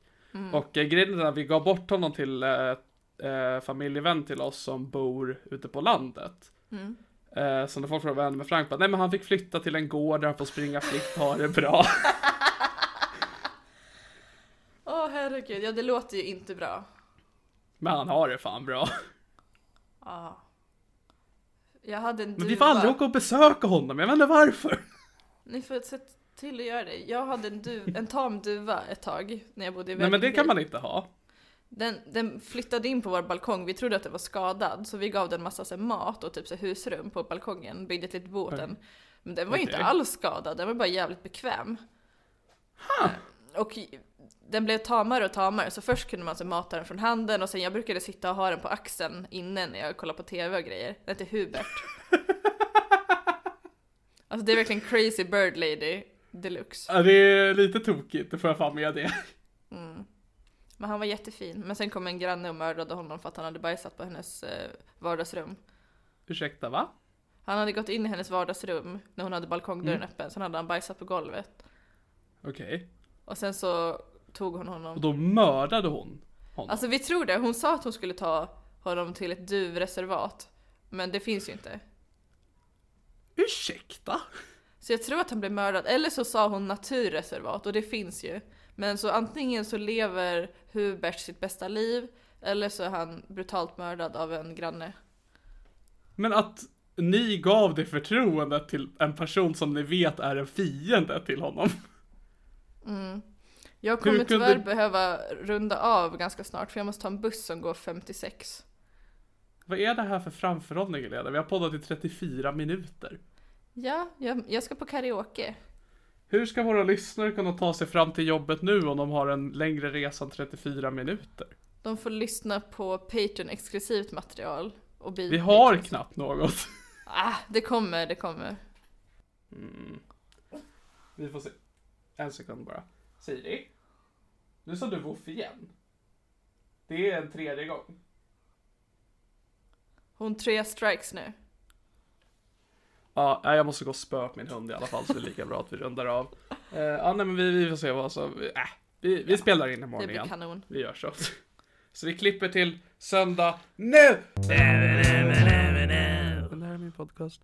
S2: Och eh, grejen är att vi gav bort honom till eh, eh, familjevän till oss som bor ute på landet. Eh, så när folk frågar vad hände med Frank, bara, nej men han fick flytta till en gård där han får springa fritt och ha det bra.
S3: Åh herregud, ja det låter ju inte bra.
S2: men han har det fan bra.
S3: Ja. Jag hade en
S2: Men
S3: duva.
S2: vi får aldrig åka och besöka honom, jag vet inte varför.
S3: Ni får se till att göra det. Jag hade en, duv, en tam duva ett tag när jag bodde i
S2: Nej men det
S3: Vällingby.
S2: kan man inte ha.
S3: Den, den flyttade in på vår balkong, vi trodde att den var skadad så vi gav den massa så här, mat och typ så här, husrum på balkongen, byggde ett litet bo åt den. Men den var ju inte
S2: Okej.
S3: alls skadad, den var bara jävligt bekväm. Eh, Och i- den blev tamare och tamare så först kunde man så här, mata den från handen och sen jag brukade sitta och ha den på axeln inne när jag kollade på TV och grejer. Den hette Hubert. Alltså det är verkligen crazy bird lady deluxe.
S2: Ja, det är lite tokigt, det får jag fan med det.
S3: Mm. Men han var jättefin. Men sen kom en granne och mördade honom för att han hade bajsat på hennes eh, vardagsrum.
S2: Ursäkta va?
S3: Han hade gått in i hennes vardagsrum när hon hade balkongdörren öppen, sen hade han bajsat på golvet.
S2: Okej.
S3: Och sen så tog hon honom.
S2: Och då mördade hon honom.
S3: Alltså vi tror det, hon sa att hon skulle ta honom till ett duvreservat. Men det finns ju inte.
S2: Ursäkta?
S3: Så jag tror att han blev mördad, eller så sa hon naturreservat och det finns ju. Men så antingen så lever Hubert sitt bästa liv eller så är han brutalt mördad av en granne.
S2: Men att ni gav det förtroendet till en person som ni vet är en fiende till honom.
S3: Jag
S2: Hur kunde-
S3: kommer tyvärr behöva runda av ganska snart för jag måste ta en buss som går 56.
S2: Vad är det här för framförhållning Elena? Vi har poddat i 34 minuter.
S3: Ja, jag, jag ska på karaoke.
S2: Hur ska våra lyssnare kunna ta sig fram till jobbet nu om de har en längre resa än 34 minuter?
S3: De får lyssna på Patreon exklusivt material. Och bli
S2: Vi har
S3: Patreons.
S2: knappt något.
S3: Ah, det kommer, det kommer.
S2: Vi får se. En sekund bara. Siri? Nu sa du woof igen. Det är en tredje gång.
S3: Hon tre strikes nu.
S2: Ja, nej, jag måste gå och spöa upp min hund i alla fall så det är lika bra att vi rundar av. Eh, ja, nej, men vi, vi får se vad som... Äh, vi, vi spelar in imorgon
S3: Det blir
S2: igen.
S3: kanon.
S2: Vi gör så. Så vi klipper till söndag nu! Det här är min podcast.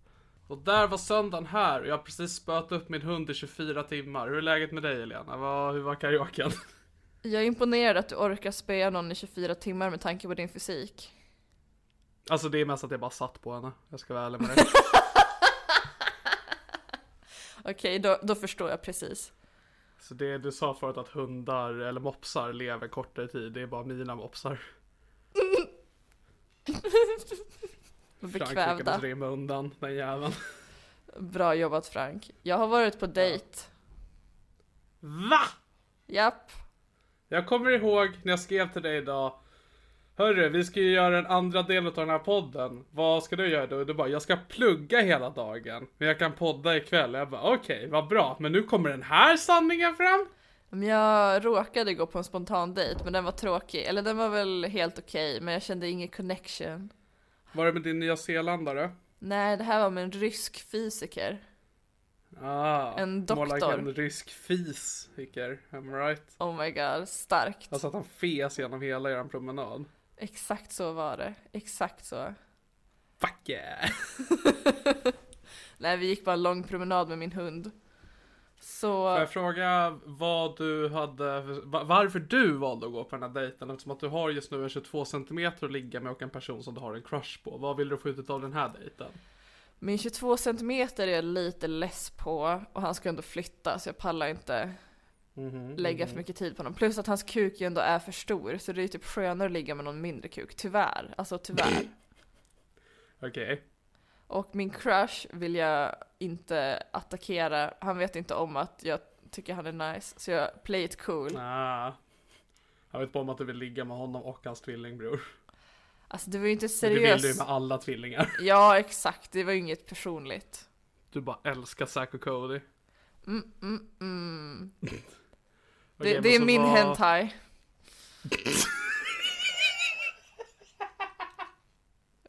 S2: Och där var söndagen här och jag har precis spöat upp min hund i 24 timmar. Hur är läget med dig Elena? Vad, hur var karaoken?
S3: Jag är imponerad att du orkar spöa någon i 24 timmar med tanke på din fysik.
S2: Alltså det är mest att jag bara satt på henne. Jag ska vara ärlig med dig.
S3: Okej, då, då förstår jag precis.
S2: Så det du sa förut att hundar eller mopsar lever kortare tid, det är bara mina mopsar. Frankrike
S3: Bekvävda.
S2: måste rymma undan den jäveln.
S3: Bra jobbat Frank. Jag har varit på dejt.
S2: VA?
S3: Japp.
S2: Jag kommer ihåg när jag skrev till dig idag. Hörru, vi ska ju göra den andra delen av den här podden. Vad ska du göra då? Du bara, jag ska plugga hela dagen. Men jag kan podda ikväll. Jag bara, okej, vad bra. Men nu kommer den här sanningen fram.
S3: Men jag råkade gå på en spontan dejt men den var tråkig. Eller den var väl helt okej men jag kände ingen connection.
S2: Var det med din nya zeeländare?
S3: Nej, det här var med en rysk fysiker.
S2: Ah,
S3: En
S2: More like
S3: doktor.
S2: en rysk fis, Hicker. Am I right?
S3: Oh my god, starkt.
S2: Alltså att han fes genom hela eran promenad.
S3: Exakt så var det. Exakt så.
S2: Fuck yeah!
S3: Nej, vi gick bara en lång promenad med min hund. Så...
S2: Får jag fråga vad du hade, va- varför du valde att gå på den här dejten eftersom att du har just nu en 22 cm att ligga med och en person som du har en crush på. Vad vill du få ut av den här dejten?
S3: Min 22 centimeter är jag lite less på och han ska ändå flytta så jag pallar inte
S2: Mhm.
S3: lägga
S2: Mm.
S3: för mycket tid på honom. Plus att hans kuk ju ändå är för stor så det är ju typ skönare att ligga med någon mindre kuk. Tyvärr, alltså tyvärr.
S2: Okej.
S3: Och min crush vill jag inte attackera. Han vet inte om att jag tycker han är nice så jag play it cool.
S2: Ah. Jag vet bara om att du vill ligga med honom och hans tvillingbror.
S3: Alltså det var ju inte
S2: Men Det vill
S3: seriöst.
S2: du ju med alla tvillingar.
S3: Ja exakt, det var ju inget personligt.
S2: Du bara älskar Zack och Cody.
S3: Mm, mm, mm.
S2: Okej,
S3: det
S2: men
S3: det är
S2: så
S3: min
S2: vad-
S3: hentai.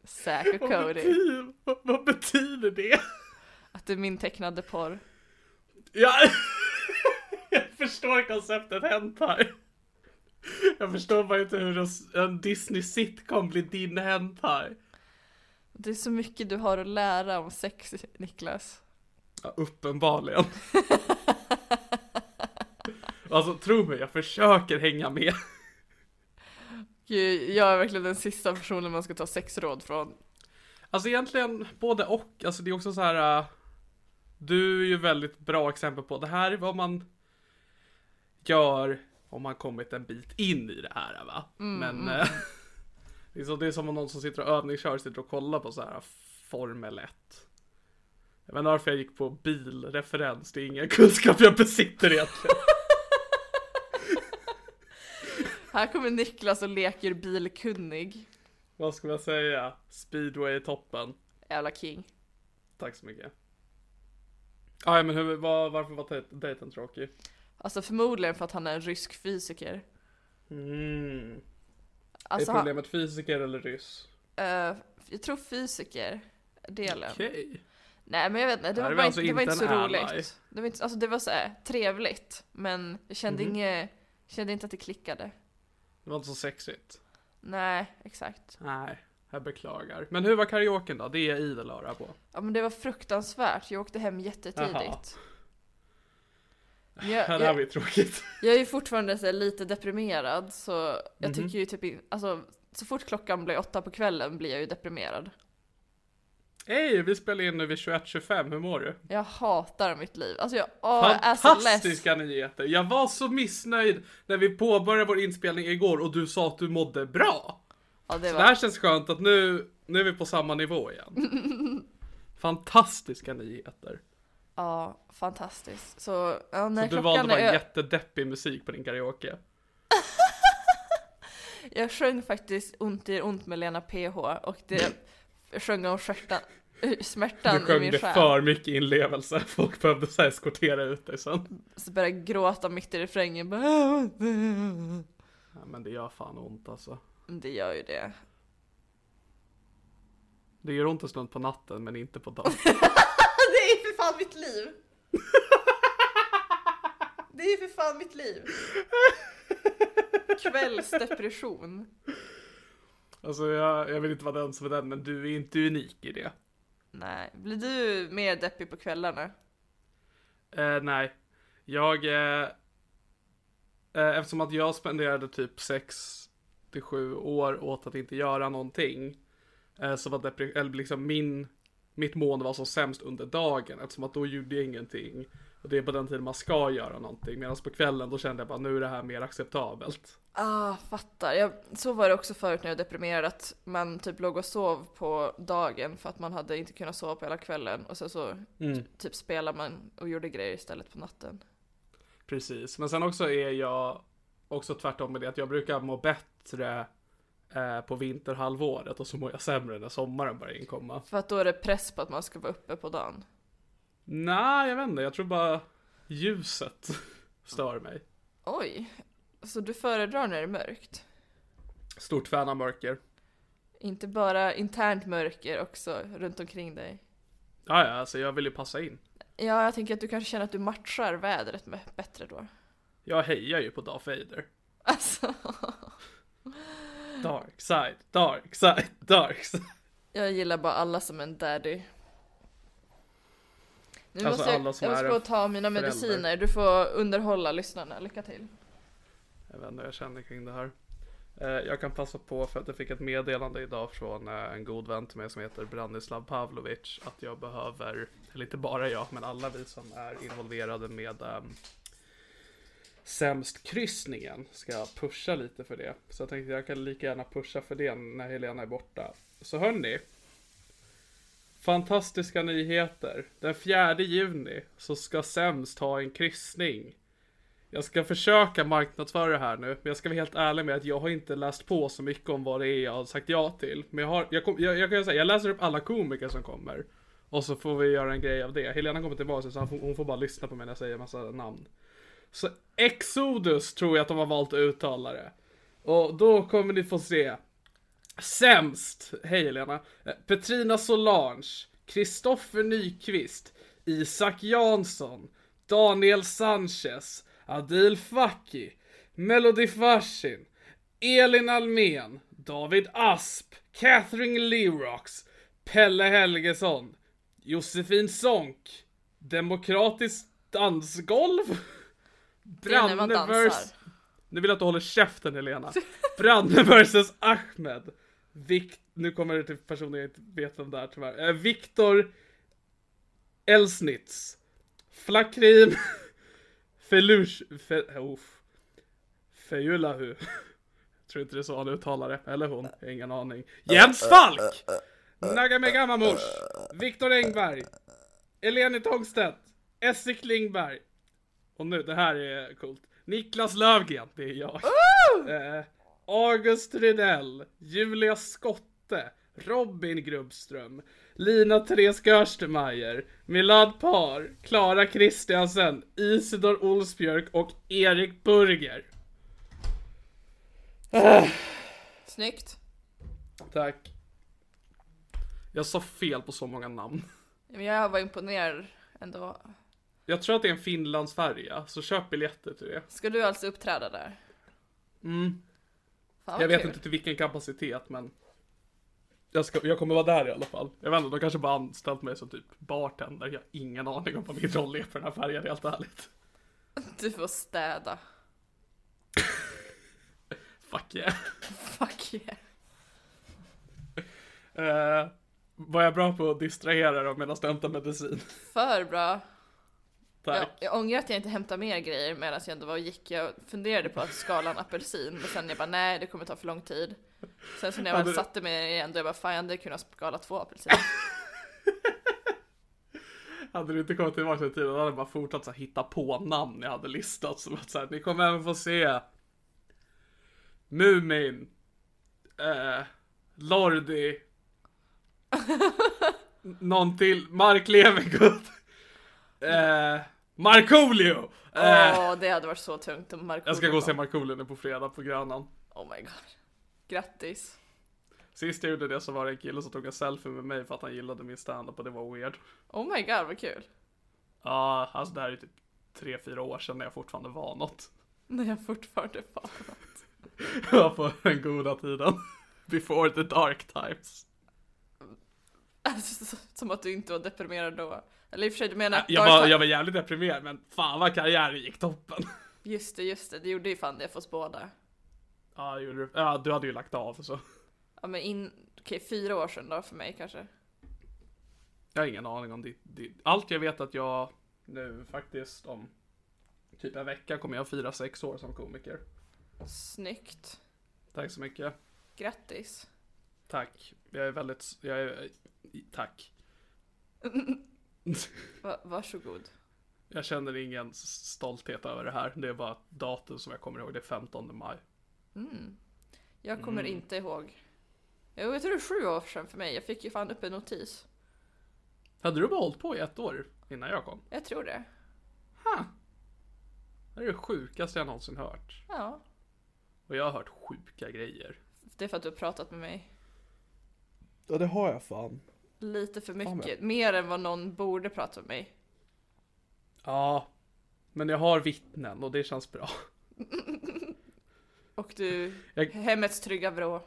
S3: Säker
S2: Vad
S3: Cody.
S2: betyder, vad, vad betyder det?
S3: Att det är min tecknade porr.
S2: Ja. Jag förstår konceptet hentai. Jag förstår bara inte hur en- en Disney sitcom blir din hentai.
S3: Det är så mycket du har att lära om sex, Niklas.
S2: Ja, uppenbarligen. Alltså tro mig, jag försöker hänga med.
S3: Gud, Jag är verkligen den sista personen man ska ta sexråd från.
S2: Alltså egentligen både och. Alltså det är också så här. äh, du är ju väldigt bra exempel på det här är vad man gör om man kommit en bit in i det här va. Men äh, det, är så, det är som om någon som sitter och övningskör sitter och kollar på så här äh, Formel 1. Jag vet inte varför jag gick på bilreferens. Det är ingen kunskap jag besitter egentligen.
S3: Här kommer Niklas och leker bilkunnig.
S2: vad ska man säga? Speedway-toppen.
S3: Jävla king.
S2: Tack så mycket. Aj, Ah, men hur, var, varför var dej- dejten tråkig?
S3: Alltså förmodligen för att han är en rysk fysiker.
S2: Mm.
S3: Alltså,
S2: är
S3: han,
S2: problemet fysiker eller ryss?
S3: eh, jag tror fysiker, delen.
S2: Okej.
S3: Nej men jag vet inte,
S2: Det
S3: det var,
S2: är
S3: bara
S2: alltså
S3: inte, det var
S2: inte
S3: inte så
S2: en ally.
S3: roligt. Det var, inte, alltså, det var så här, trevligt, men jag kände,
S2: Mhm.
S3: inget, kände inte att det klickade.
S2: Det var inte så sexigt.
S3: Nej, exakt.
S2: Nej, jag beklagar. Men hur var karaoken då? Det är jag idel öra på.
S3: Ja men det var fruktansvärt, jag åkte hem jättetidigt. Men Jag,
S2: det här
S3: jag,
S2: var ju tråkigt.
S3: jag är ju fortfarande så här, lite deprimerad så jag
S2: Mhm.
S3: tycker ju typ in, alltså så fort klockan blir åtta på kvällen blir jag ju deprimerad.
S2: Hej, vi spelar in nu vid 21.25, hur mår du?
S3: Jag hatar mitt liv. Alltså jag, åh, jag är så less.
S2: Fantastiska nyheter! Jag var så missnöjd när vi påbörjade vår inspelning igår och du sa att du mådde bra.
S3: Ja, det
S2: Så det här
S3: var,
S2: känns skönt att nu, nu är vi på samma nivå igen. Fantastiska nyheter.
S3: ja, fantastiskt. Så ja, när
S2: Så du valde
S3: klockan
S2: bara
S3: är ö-
S2: jättedeppig musik på din karaoke.
S3: Jag sjöng faktiskt Ont i ont med Lena PH och det jag sjöng om skärtan,
S2: Mm. Du
S3: smärtan i
S2: sjöng
S3: min
S2: det
S3: själ.
S2: för mycket inlevelse. Folk behövde så här eskortera ut dig sen.
S3: Så började jag gråta mitt i refrängen. Bara,
S2: Ja, men det gör fan ont alltså.
S3: Det gör ju det.
S2: Det gör ont en stund på natten men inte på dagen.
S3: Det är ju för fan mitt liv! Det är ju för fan mitt liv! Kvällsdepression.
S2: Alltså jag, jag vill inte vara den som är den men du är inte unik i det.
S3: Nej, blir du mer deppig på kvällarna?
S2: Eh, nej. Jag... Eh, eh, eftersom att jag spenderade typ 6 till 7 år åt att inte göra någonting. Eh, så var depre- eller liksom min... Mitt mående var som sämst under dagen eftersom att då gjorde jag ingenting. Och det är på den tiden man ska göra någonting. Medan på kvällen då kände jag bara nu är det här mer acceptabelt.
S3: Ah, fattar. Jag, så var det också förut när jag var deprimerad, att man typ låg och sov på dagen för att man hade inte kunnat sova på hela kvällen och sen så typ spelade man och gjorde grejer istället på natten.
S2: Precis, men sen också är jag också tvärtom med det att jag brukar må bättre eh, på vinterhalvåret och så mår jag sämre när sommaren börjar inkomma.
S3: För att då är det press på att man ska vara uppe på dagen.
S2: Nej, jag vet inte, jag tror bara ljuset stör mig.
S3: Oj, så du föredrar när det är mörkt?
S2: Stort fan av mörker.
S3: Inte bara internt mörker också runt omkring dig?
S2: Ja, ja, alltså jag vill ju passa in.
S3: Ja, jag tänker att du kanske känner att du matchar vädret med, bättre då.
S2: Jag hejar ju på Darth Vader.
S3: Alltså,
S2: Dark side, dark side, dark side.
S3: jag gillar bara alla som en daddy. Nu
S2: Alltså,
S3: måste jag,
S2: alla som
S3: jag måste
S2: är
S3: gå
S2: en
S3: och ta mina
S2: förälder.
S3: mediciner, du får underhålla lyssnarna, lycka till.
S2: Jag vet inte vad jag känner kring det här. Eh, Jag kan passa på för att jag fick ett meddelande idag från eh, en god vän till mig som heter Branislav Pavlovic att jag behöver, eller inte bara jag, men alla vi som är involverade med um, sämst kryssningen ska pusha lite för det. Så jag tänkte jag kan lika gärna pusha för det när Helena är borta. Så hörni. Fantastiska nyheter. Den 4 juni så ska sämst ha en kryssning. Jag ska försöka marknadsföra det här nu, men jag ska vara helt ärlig med att jag har inte läst på så mycket om vad det är jag har sagt ja till. Men jag har, jag, kom, jag, jag kan ju säga, jag läser upp alla komiker som kommer. Och så får vi göra en grej av det. Helena kommer tillbaka så hon får, hon får bara lyssna på mig när jag säger en massa namn. Så Exodus tror jag att de har valt att uttala det. Och då kommer ni få se. Sämst! Hej Helena. Eh, Petrina Solange. Kristoffer Nyqvist. Isak Jansson. Daniel Sanchez. Adil Fakhi. Melody Fashin. Elin Almen. David Asp. Catherine Lerox. Pelle Helgesson. Josefin Sonck. Demokratiskt dansgolv.
S3: Det är när man dansar.
S2: vers- nu vill jag att du håller käften Helena. Branne versus Ahmed. Vic- nu kommer det till personer jag inte vet vem det är tyvärr. Eh, Viktor Elsnitz. Flakrim. Felush. Fe- oh. Fejulahu. tror inte det är så han uttalar det. Eller hon. Jag har Ingen aning. Jens Falk! Nagame Gammamosh. Viktor Engberg. Eleni Tångstedt. Essie Klingberg. Och nu, det här är coolt. Niklas Löfgren, det är jag. Eh, August Rydell, Julia Skotte, Robin Grubbström, Lina Therese Gerstermeier, Milad Par, Klara Kristiansen, Isidor Olsbjörk och Erik Burger.
S3: Snyggt.
S2: Tack. Jag sa fel på så många namn.
S3: Men jag var imponerad ändå.
S2: Jag tror att det är en Finlandsfärja, så köp biljetter till det.
S3: Ska du alltså uppträda där?
S2: Mm.
S3: Fan, vad
S2: Jag vet
S3: kul.
S2: inte till vilken kapacitet, men jag, ska, jag kommer vara där i alla fall. Jag vet inte, de kanske bara anställt mig som typ bartender. Jag har ingen aning om vad min roll är på den här färjan, helt ärligt.
S3: Du får städa.
S2: Fuck yeah.
S3: Fuck yeah.
S2: Eh, var jag bra på att distrahera dem medan jag hämtar medicin?
S3: För bra. Jag,
S2: Tack.
S3: jag ångrar att jag inte hämtade mer grejer medan jag ändå var och gick. Jag funderade på att skala en apelsin, men sen jag bara nej, det kommer ta för lång tid. Sen så när jag
S2: Ja,
S3: väl
S2: det-
S3: satte mig igen, då jag bara fan, jag hade kunnat skala två apelsiner.
S2: Hade du inte kommit tillbaka till tiden hade jag bara fortsatt så här, hitta på namn jag hade listat. Som att så här, ni kommer även få se Mumin, eh, Lordi, N- någon till, Mark Levengood, eh, Markoolio! Eh,
S3: Åh, det hade varit så tungt om Marco
S2: jag ska gå och se Markoolio nu på fredag på Grönan.
S3: Oh my god. Grattis.
S2: Sist jag gjorde det så var det en kille som tog en selfie med mig för att han gillade min standup och det var weird.
S3: Oh my god, vad kul.
S2: Ja, alltså det här är typ 3-4 år sedan när jag fortfarande var något.
S3: När jag fortfarande var.
S2: Jag var på den goda tiden. Before the dark times.
S3: Alltså, så- som att du inte var deprimerad då. Eller i och för sig, du menar...
S2: Äh, Jag var, jag var jävligt deprimerad men fan vad karriären gick toppen.
S3: Just det, just det. Det gjorde ju fan det för oss båda.
S2: Ja, det gjorde du. Ja, du hade ju lagt av så.
S3: Ja men in... Okej, fyra år sedan då för mig kanske.
S2: Jag har ingen aning om ditt, ditt. Allt jag vet att jag nu faktiskt om typ en vecka kommer jag fira sex år som komiker.
S3: Snyggt.
S2: Tack så mycket.
S3: Grattis.
S2: Tack. Jag är väldigt, jag är, tack.
S3: Va varsågod.
S2: Jag känner ingen stolthet över det här. Det är bara ett datum som jag kommer ihåg. Det är 15 maj.
S3: Jag kommer
S2: Mm.
S3: inte ihåg. Jo, jag tror det är sju år sedan för mig. Jag fick ju fan upp en notis.
S2: Hade du bara hållit på i ett år innan jag kom?
S3: Jag tror det.
S2: Ha. Det här är det sjukaste jag någonsin hört.
S3: Ja.
S2: Och jag har hört sjuka grejer.
S3: Det är för att du har pratat med mig.
S2: Ja det har jag fan.
S3: Lite för
S2: men-
S3: mycket. Mer än vad någon borde prata med mig.
S2: Ja. Men jag har vittnen och det känns bra.
S3: Och du,
S2: Jag-
S3: hemmets trygga vrå.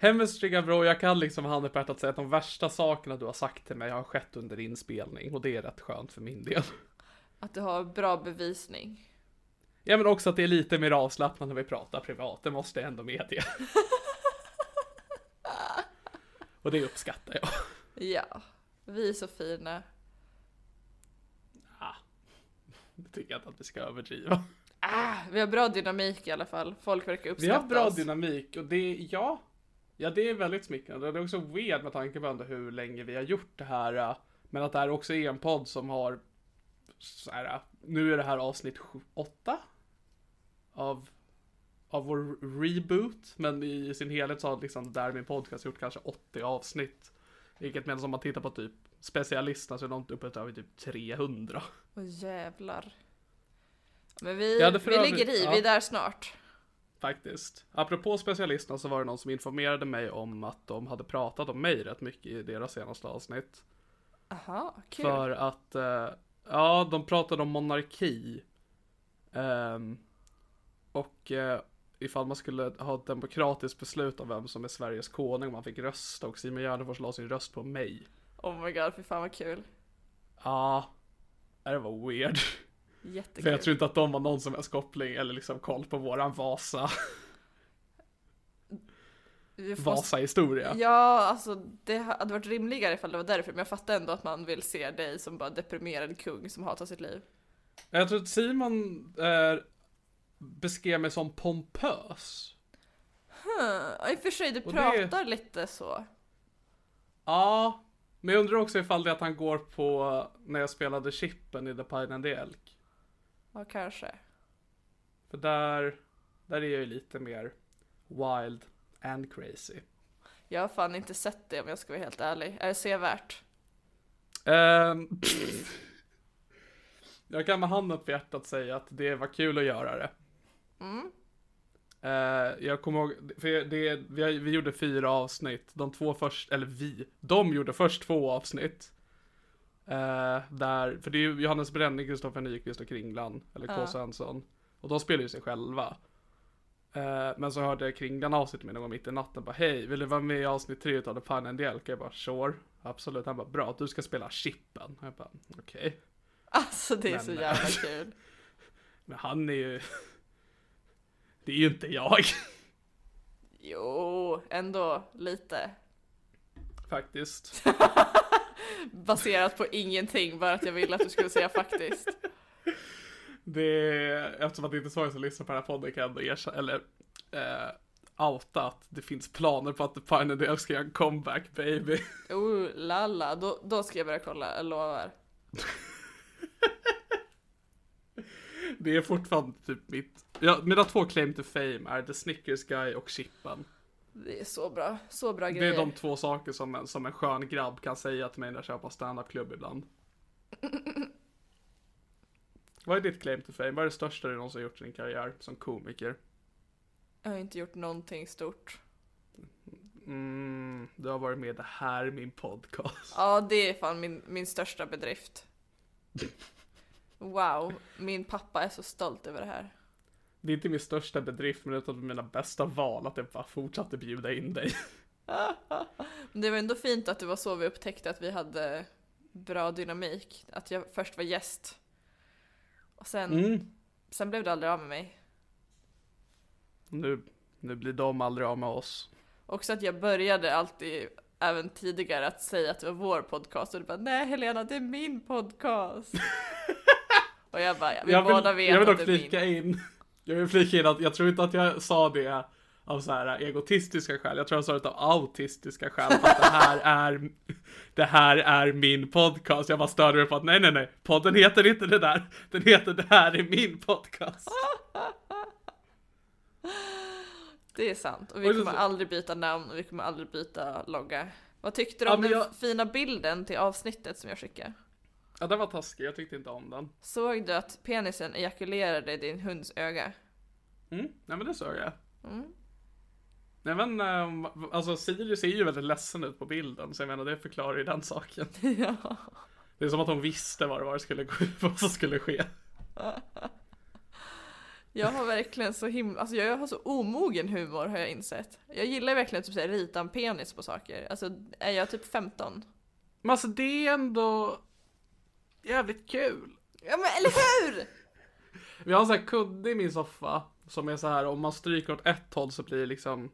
S2: Hemmets trygga vrå, jag kan liksom med handen på hjärtat säga att de värsta sakerna du har sagt till mig har skett under inspelning. Och det är rätt skönt för min del.
S3: Att du har bra bevisning.
S2: Ja men också att det är lite mer avslappnat när vi pratar privat, det måste jag ändå medge. och det uppskattar jag.
S3: Ja. Vi är så fina.
S2: Det tycker jag inte att vi ska överdriva.
S3: Ah, vi har bra dynamik i alla fall. Folk verkar
S2: Vi
S3: uppskatta
S2: har bra
S3: oss.
S2: dynamik och det, ja. Ja, det är väldigt smickrande. Det är också weird med tanke på ändå hur länge vi har gjort det här. eh, Men att det här också är en podd som har så här, eh, nu är det här avsnitt sju- åtta av, av vår reboot. Men i sin helhet så har liksom där min podcast gjort kanske 80 avsnitt. Vilket medan om man tittar på typ specialisterna så är de uppe över typ 300.
S3: Åh jävlar. Men vi,
S2: Jag hade för
S3: vi
S2: övrigt-
S3: ligger i,
S2: ja.
S3: vi är där snart.
S2: Faktiskt. Apropå specialisterna så var det någon som informerade mig om att de hade pratat om mig rätt mycket i deras senaste avsnitt.
S3: Aha, kul.
S2: För att, eh, ja, de pratade om monarki. Ehm, och eh, ifall man skulle ha ett demokratiskt beslut om vem som är Sveriges konung, man fick rösta och Simon Gärdenfors la sin röst på mig.
S3: Oh my god, fy fan vad kul.
S2: Ja, det var weird.
S3: Jättekul.
S2: För jag tror inte att de har någon som helst koppling eller liksom koll på våran Vasa,
S3: Vi får-
S2: Vasa-historia.
S3: Ja, alltså det hade varit rimligare ifall det var därför, men jag fattar ändå att man vill se dig som bara deprimerad kung som hatar sitt liv.
S2: Jag tror att Simon eh, beskrev mig som pompös.
S3: Hmm, I och för sig, du
S2: Och det-
S3: pratar lite så.
S2: Ja, men jag undrar också ifall det är att han går på när jag spelade Chippen i The Pine and the Elk.
S3: Ja, kanske.
S2: För där, där är jag ju lite mer wild and crazy.
S3: Jag har fan inte sett det om jag ska vara helt ärlig. Är det sevärt?
S2: Ehm, jag kan med handen på hjärtat säga att det var kul att göra det.
S3: Mm.
S2: Eh, jag kommer ihåg, för det, vi, har- vi gjorde fyra avsnitt. De två först, eller vi, de gjorde först två avsnitt. Eh, där, för det är ju Johannes Bränning, Kristoffer Nyqvist och Kringlan, eller K.
S3: Ja.
S2: Svensson. Och de spelar ju sig själva. Eh, men så hörde jag Kringlan av sig till mig någon gång mitt i natten bara hej, vill du vara med i avsnitt tre utav The Pan and the Elk? Jag bara sure, absolut. Han bara bra, du ska spela Chippen. Jag bara okej.
S3: Alltså det är
S2: Men-
S3: så jävla kul.
S2: Men han är ju... Det är ju inte jag.
S3: Jo, ändå lite.
S2: Faktiskt.
S3: Baserat på ingenting, bara att jag ville att du skulle säga faktiskt.
S2: Det är, eftersom att det inte är så många som lyssnar på den här podden kan jag ändå erkänna, eller eh, outa att det finns planer på att The Pine and the Elf ska göra en comeback baby.
S3: Oh lalla, då, då ska jag börja kolla, jag lovar.
S2: Det är fortfarande typ mitt, ja, mina två claim to fame är The Snickers Guy och Chippen.
S3: Det är så bra, så bra
S2: Det
S3: grejer.
S2: är de två saker som en, som en skön grabb kan säga till mig när jag kör på standupklubb ibland. Vad är ditt claim to fame? Vad är det största du någonsin gjort i din karriär som komiker?
S3: Jag har inte gjort någonting stort.
S2: Mm, du har varit med i det här, min podcast.
S3: Ja, det är fan min, min största bedrift. Wow, min pappa är så stolt över det här.
S2: Det är inte min största bedrift, men ett av mina bästa val att jag bara fortsatte bjuda in dig.
S3: Men det var ändå fint att det var så vi upptäckte att vi hade bra dynamik. Att jag först var gäst. Och sen,
S2: Mm.
S3: sen blev det aldrig av med mig.
S2: Nu, nu blir de aldrig av med oss.
S3: Också att jag började alltid, även tidigare, att säga att det var vår podcast och du bara nej Helena, det är min podcast. och jag bara, ja, vi
S2: jag
S3: båda
S2: vill,
S3: vet
S2: jag vill
S3: att
S2: dock
S3: det är min.
S2: flika in. Jag vill flika in att jag tror inte att jag sa det av så här egotistiska skäl. Jag tror jag sa det av autistiska skäl. För att det här är, det här är min podcast. Jag bara störde mig på att nej, nej, nej. Podden heter inte det där. Den heter det här är min podcast.
S3: Ah! Det är sant. Och vi
S2: Och det är
S3: kommer
S2: så-
S3: aldrig byta namn och vi kommer aldrig byta logga. Vad tyckte du
S2: Ja,
S3: om
S2: men
S3: den
S2: jag-
S3: fina bilden till avsnittet som jag skickade?
S2: Ja, den var taskig. Jag tyckte inte om den.
S3: Såg du att penisen ejakulerade i din hunds öga?
S2: Mm, nej men det såg jag.
S3: Mm.
S2: Nej men, eh, alltså Sirius ser ju väldigt ledsen ut på bilden, så jag menar det förklarar ju den saken.
S3: ja.
S2: Det är som att hon visste vad det var det skulle gå, vad som skulle ske.
S3: Jag har verkligen så himla, alltså jag har så omogen humor har jag insett. Jag gillar verkligen att typ så här rita en penis på saker. Alltså är jag typ 15?
S2: Men alltså det är ändå jävligt kul.
S3: Ja men eller hur!
S2: Vi har en sån här kudde i min soffa, som är så här om man stryker åt ett håll så blir det liksom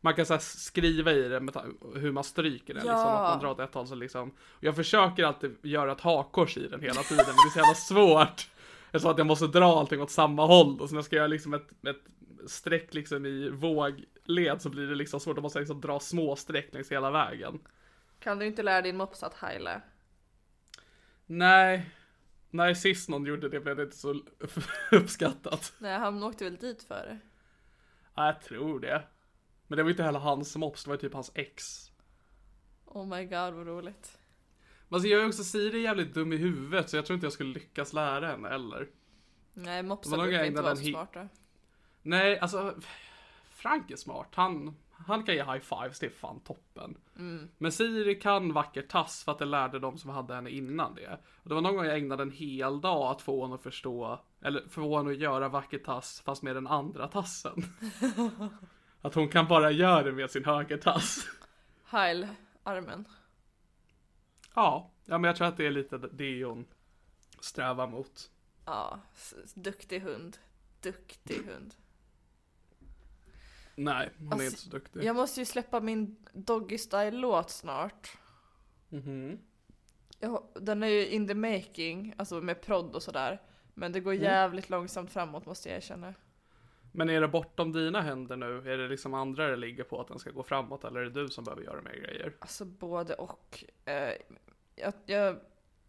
S2: man kan så här skriva i det med ta- hur man stryker den,
S3: Ja.
S2: liksom, att man drar åt ett håll så liksom. Och jag försöker alltid göra ett hakkors i den hela tiden, men det är så jävla svårt. Så att jag måste dra allting åt samma håll och sen ska jag göra liksom ett, ett streck liksom i vågled så blir det liksom svårt, då måste jag liksom dra små streck längs hela vägen.
S3: Kan du inte lära din mops att heila?
S2: Nej, när sist någon gjorde det blev det inte så uppskattat.
S3: Nej han åkte väl dit för det.
S2: Ja, jag tror det. Men det var ju inte heller hans mops, det var ju typ hans ex.
S3: Oh my god vad roligt.
S2: Men alltså, jag är också Siri är jävligt dum i huvudet så jag tror inte jag skulle lyckas lära henne eller.
S3: Nej mopsar
S2: Men de
S3: brukar
S2: grejerna
S3: inte vara
S2: den
S3: så
S2: hi-
S3: smarta.
S2: Nej, alltså Frank är smart. Han, han kan ge high fives, det är fan toppen. Men Siri kan vacker tass för att det lärde de som hade henne innan det. Och det var någon gång jag ägnade en hel dag att få henne att förstå, eller få henne att göra vacker tass fast med den andra tassen. att hon kan bara göra det med sin högertass.
S3: Heil armen.
S2: Ja, ja men jag tror att det är lite det hon strävar mot.
S3: Ja, s- duktig hund. Duktig hund.
S2: Nej, hon
S3: Alltså,
S2: är inte så duktig.
S3: Jag måste ju släppa min Doggy Style-låt snart.
S2: Mhm.
S3: Ja, den är ju in the making, alltså med prodd och sådär. Men det går jävligt långsamt framåt måste jag erkänna.
S2: Men är det bortom dina händer nu? Är det liksom andra det ligger på att den ska gå framåt eller är det du som behöver göra mer grejer?
S3: Alltså både och. Eh, jag, jag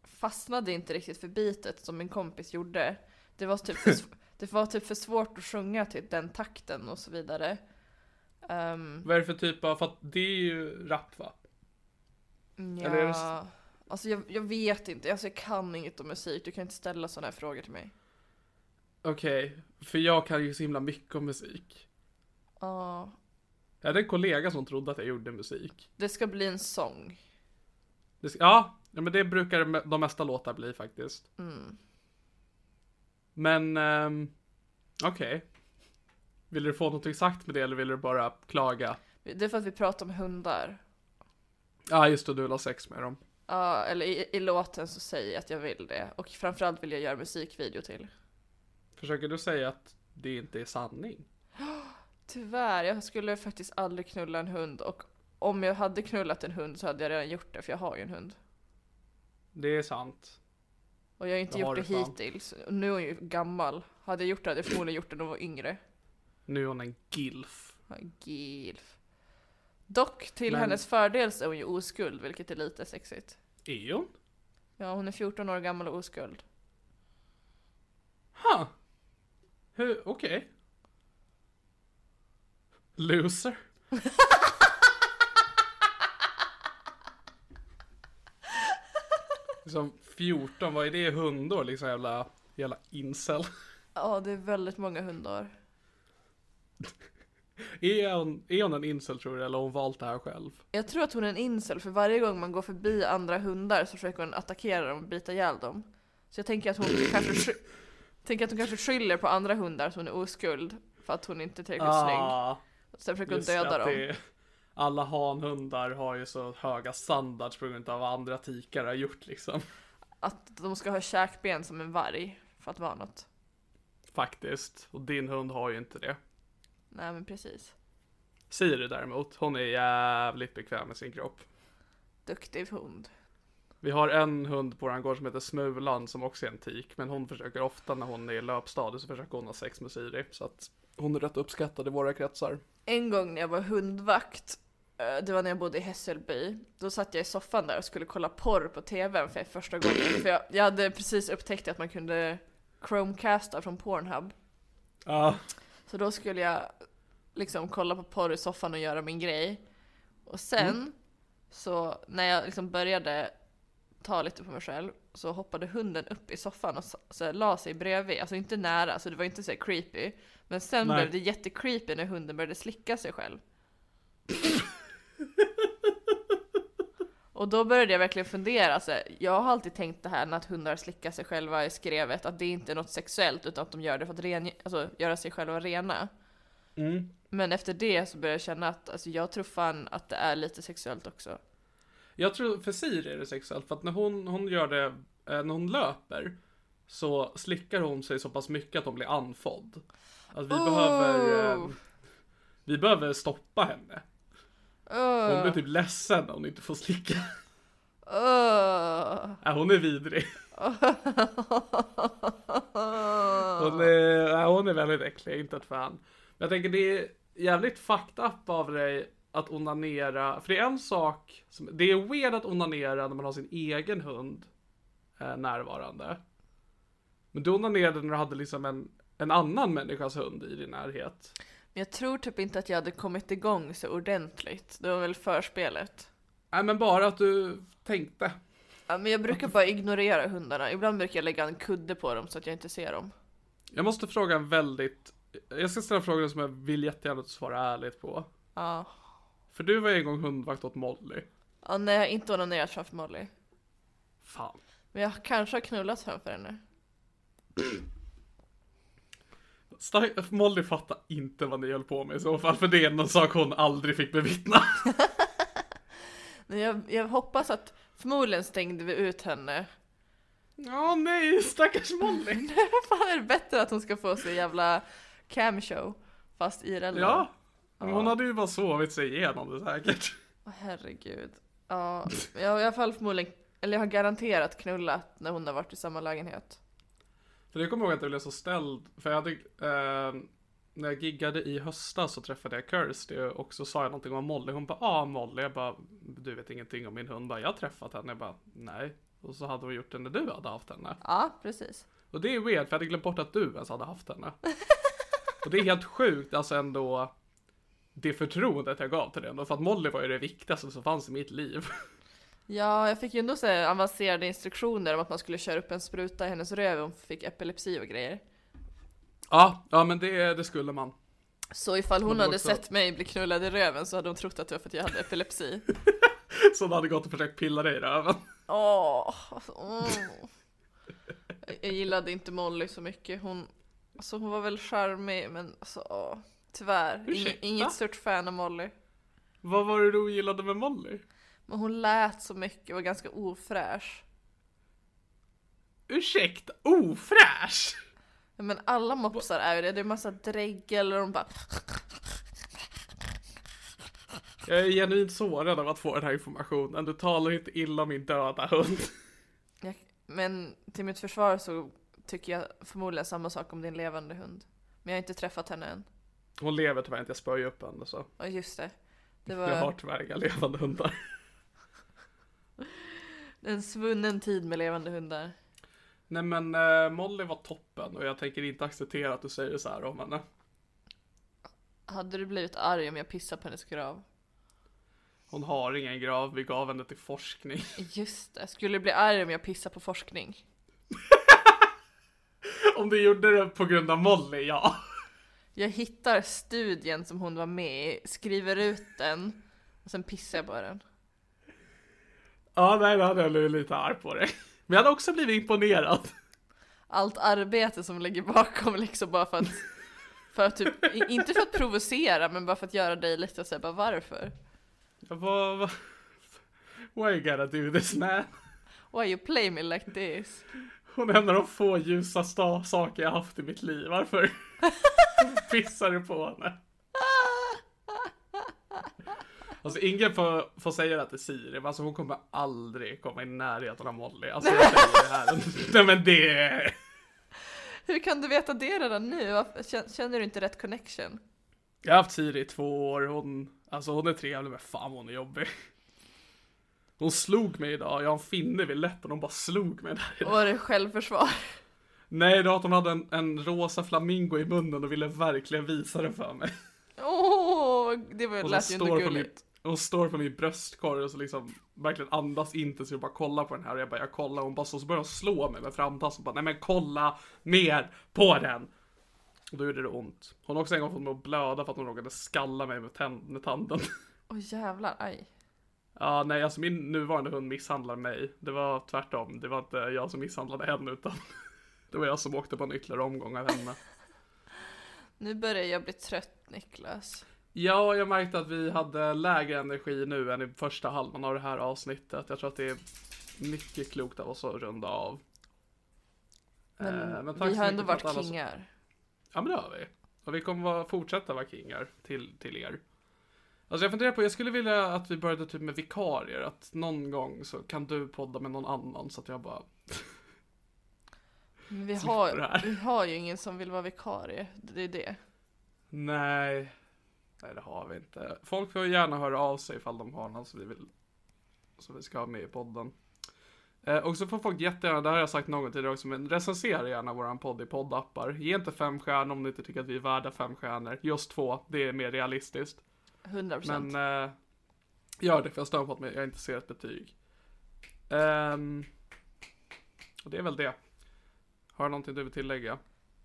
S3: fastnade inte riktigt för bitet som min kompis gjorde. typ Det var typ för, sv- det var typ för svårt att sjunga till den takten och så vidare. Ehm,
S2: Vad är det för typ av, för att det är ju rap va? Eller är det s-
S3: Mm, ja. Alltså jag, jag vet inte, alltså jag kan inget om musik, du kan inte ställa sådana här frågor till mig.
S2: Okej, för jag kan ju så himla mycket om musik.
S3: Ja,
S2: Jag hade en kollega som trodde att jag gjorde musik.
S3: det ska bli en sång.
S2: Det, sk- ja, ja, men det brukar me- de mesta låtar bli faktiskt. Men, ehm, okej. Vill du få någonting sagt med det eller vill du bara klaga?
S3: Det är för att vi pratar om hundar.
S2: Ja, ah, just det, du vill ha sex med dem.
S3: Ja, eller i, i låten så säger jag att jag vill det. Och framförallt vill jag göra musikvideo till.
S2: Försöker du säga att det inte är sanning?
S3: Tyvärr, jag skulle faktiskt aldrig knulla en hund och om jag hade knullat en hund så hade jag redan gjort det för jag har ju en hund.
S2: Det är sant.
S3: Och jag har inte
S2: Jag har
S3: gjort det
S2: det fan.
S3: hittills. Och Nu är hon ju gammal. Hade jag gjort det hade jag förmodligen gjort det när hon var yngre.
S2: Nu är hon en gilf.
S3: Ja, Gilf. Dock till
S2: Men-
S3: hennes fördel så är hon ju oskuld, vilket är lite sexigt.
S2: Är hon?
S3: Ja, hon är 14 år gammal och oskuld.
S2: Huh. Hur, okej. Loser. Som 14, vad är det i hundår liksom jävla, jävla incel?
S3: Ja, det är väldigt många hundar.
S2: Är hon, är hon en incel tror du eller har hon valt det här själv?
S3: Jag tror att hon är en incel för varje gång man går förbi andra hundar så försöker hon attackera dem och bita ihjäl dem. Så jag tänker att hon kanske, sky- tänker att hon kanske skyller på andra hundar som hon är oskuld för att hon inte är tillräckligt snygg. Sen försöker
S2: Ah,
S3: hon
S2: just det,
S3: döda
S2: att
S3: dem.
S2: det- Alla hanhundar har ju så höga standards på grund av vad andra tikar har gjort liksom.
S3: Att de ska ha käkben som en varg för att vara något.
S2: Faktiskt. Och din hund har ju inte det.
S3: Nej men precis.
S2: Siri däremot, hon är jävligt bekväm med sin kropp.
S3: Duktig hund.
S2: Vi har en hund på vår gård som heter Smulan som också är en tik, men hon försöker ofta när hon är i löpstadiet så försöker hon ha sex med Siri. Så att hon är rätt uppskattad i våra kretsar.
S3: En gång när jag var hundvakt, eh, det var när jag bodde i Hässelby, då satt jag i soffan där och skulle kolla porr på tvn för första gången. För jag, jag hade precis upptäckt att man kunde Chromecasta från Pornhub.
S2: Ja.
S3: Så då skulle jag liksom kolla på porr i soffan och göra min grej. Och sen, så när jag liksom började ta lite på mig själv, så hoppade hunden upp i soffan och så, så här la sig bredvid. Alltså inte nära, så det var inte så här creepy. Men sen
S2: Nej.
S3: blev det jättecreepy när hunden började slicka sig själv. Och då började jag verkligen fundera, så här, jag har alltid tänkt det här när att hundar slickar sig själva i skrevet, att det inte är något sexuellt utan att de gör det för att ren, alltså, göra sig själva rena.
S2: Mm.
S3: Men efter det så började jag känna att alltså, jag tror fan att det är lite sexuellt också.
S2: Jag tror för Siri är det sexuellt, för att när hon, hon gör det, eh, när hon löper, så slickar hon sig så pass mycket att hon blir andfådd. Att vi behöver, eh,
S3: Oh.
S2: vi behöver stoppa henne. Hon
S3: Öh,
S2: blir typ ledsen när hon inte får slicka.
S3: öh.
S2: Nej, hon är vidrig. Hon är, nej, hon är väldigt äcklig, inte ett fan. Men jag tänker det är jävligt fucked up av dig att onanera. För det är en sak, som, det är weird att onanera när man har sin egen hund eh, närvarande. Men du onanerade när du hade liksom en, en annan människas hund i din närhet.
S3: Men jag tror typ inte att jag hade kommit igång så ordentligt. Det var väl förspelet.
S2: Nej men bara att du tänkte.
S3: Ja, men jag brukar bara ignorera hundarna. Ibland brukar jag lägga en kudde på dem så att jag inte ser dem.
S2: Jag måste fråga en väldigt, jag ska ställa frågan som jag vill jättegärna att du svarar ärligt på.
S3: Ja.
S2: För du var ju en gång hundvakt åt Molly.
S3: Ja, nej, jag har inte onanerat framför Molly.
S2: Fan.
S3: Men jag kanske har knullat framför henne.
S2: Star- Molly fattar inte vad ni höll på med i så fall, för det är någon sak hon aldrig fick bevittna.
S3: Men jag, jag hoppas att förmodligen stängde vi ut henne.
S2: Ja, nej, stackars Molly.
S3: Fan är det bättre att hon ska få sig jävla camshow fast IRL?
S2: Ja, men hon
S3: Ja.
S2: hade ju bara sovit sig igenom det säkert.
S3: Åh, herregud. Ja, men jag har i alla fall förmodligen, eller jag har garanterat knullat när hon har varit i samma lägenhet.
S2: För jag kommer ihåg att jag blev så ställd, för jag hade, eh, när jag giggade i höstas så träffade jag Kirsty och så sa jag någonting om Molly. Hon bara, ah Molly, jag bara, du vet ingenting om min hund. Bara, jag har träffat henne, jag bara, nej. Och så hade hon gjort det när du hade haft henne.
S3: Ja, precis.
S2: Och det är weird, för jag hade glömt bort att du ens hade haft henne. Och det är helt sjukt, alltså ändå. det förtroendet jag gav till den. För att Molly var ju det viktigaste som fanns i mitt liv.
S3: Ja, jag fick ju ändå så här avancerade instruktioner om att man skulle köra upp en spruta i hennes röv om hon fick epilepsi och grejer.
S2: Ja, ja men det, det skulle man.
S3: Så ifall hon
S2: Men det var
S3: hade
S2: också-
S3: sett mig bli knullad i röven så hade hon trott att det var för att jag hade epilepsi.
S2: Så hon hade gått och försökt pilla dig i röven.
S3: Åh, alltså, åh. Jag- Jag gillade inte Molly så mycket. Hon, alltså hon var väl charmig men alltså, åh. tyvärr. Inge,
S2: Ursäkta?
S3: inget stort fan av Molly.
S2: Vad var det du gillade med Molly?
S3: Men hon lät så mycket och var ganska ofräsch.
S2: Ursäkta, ofräsch!
S3: Ja, Men alla mopsar är ju det. Det är massa dregel och de bara
S2: Jag är genuint sårad av att få den här informationen. Du talar inte illa om min döda hund.
S3: Jag, men till mitt försvar så tycker jag förmodligen samma sak om din levande hund. Men jag har inte träffat henne än.
S2: Hon lever tyvärr inte, jag spöar ju upp henne så.
S3: Ja just det. Det
S2: Jag har
S3: var
S2: tyvärr inga levande hundar.
S3: en svunnen tid med levande hundar.
S2: Nej men eh, Molly var toppen och jag tänker inte acceptera att du säger så här om henne.
S3: Hade du blivit arg om jag pissade på hennes grav?
S2: Hon har ingen grav, vi gav henne till forskning.
S3: Just det. Skulle du bli arg om jag pissade på forskning?
S2: Om du gjorde det på grund av Molly, ja.
S3: Jag hittar studien som hon var med i, skriver ut den och sen pissar jag på den.
S2: Ja, nej, då hade jag blivit lite arg på dig. Men jag hade också blivit imponerad.
S3: Allt arbete som ligger bakom liksom bara för att, för att typ, i- inte för att provocera men bara för att göra dig lite såhär bara varför?
S2: Jag bara, va- Why you gotta do this man?
S3: Why you play me like this?
S2: Hon är en av de få ljusa sta- saker jag haft i mitt liv. Varför pissar du på henne? Alltså ingen får, får säga det till Siri, men alltså hon kommer aldrig komma i närheten av Molly. Alltså jag säger det här. Nej men det...
S3: Hur kan du veta det redan nu? Varför- kän- Känner du inte rätt connection?
S2: Jag har haft Siri i två år, hon, alltså hon är trevlig men fan vad hon är jobbig. Hon slog mig idag, jag har en finne vid läppen, hon bara slog mig där idag.
S3: Var det självförsvar?
S2: Nej, det var att hon hade en, en rosa flamingo i munnen och ville verkligen visa det för mig.
S3: Åh, det var,
S2: Och så
S3: lät ju inte
S2: står på
S3: gulligt.
S2: mitt, hon står på min bröstkorg och så liksom verkligen andas inte så jag bara kollar på den här och jag bara jag kollar och hon bara så, så börjar hon slå mig med framtassen och bara nej men kolla mer på den. Och då gjorde det ont. Hon har också en gång fått mig att blöda för att hon råkade skalla mig med, tänd, med tanden.
S3: Åh jävlar, aj.
S2: Ja, nej, alltså min nuvarande hund misshandlar mig. Det var tvärtom. Det var inte jag som misshandlade henne, utan det var jag som åkte på en ytterligare omgång av henne.
S3: Nu börjar jag bli trött Niklas.
S2: Ja, jag märkte att vi hade lägre energi nu än i första halvan av det här avsnittet. Jag tror att det är mycket klokt av oss att runda av.
S3: Men
S2: Eh, men tack
S3: vi
S2: så mycket
S3: har ändå
S2: för
S3: varit
S2: att alla som-
S3: kingar.
S2: Ja, men det har vi. Och vi kommer vara, fortsätta vara kingar till, till er. Alltså jag funderar på, jag skulle vilja att vi började typ med vikarier. Att någon gång så kan du podda med någon annan så att jag bara
S3: Men vi,
S2: slipper det
S3: har,
S2: här.
S3: vi har ju ingen som vill vara vikarie. Det är det.
S2: Nej. Nej, det har vi inte. Folk får gärna höra av sig ifall de har någon som vi vill som vi ska ha med i podden. Eh, och så får folk jättegärna, det här har jag sagt någon gång tidigare också, men recensera gärna våran podd i poddappar. Ge inte fem stjärnor om ni inte tycker att vi är värda fem stjärnor. Ge oss två, det är mer realistiskt.
S3: 100%.
S2: Men eh, gör det, för jag stör mig på att jag inte ser ett betyg. Ehm, och det är väl det. Har du någonting du vill tillägga?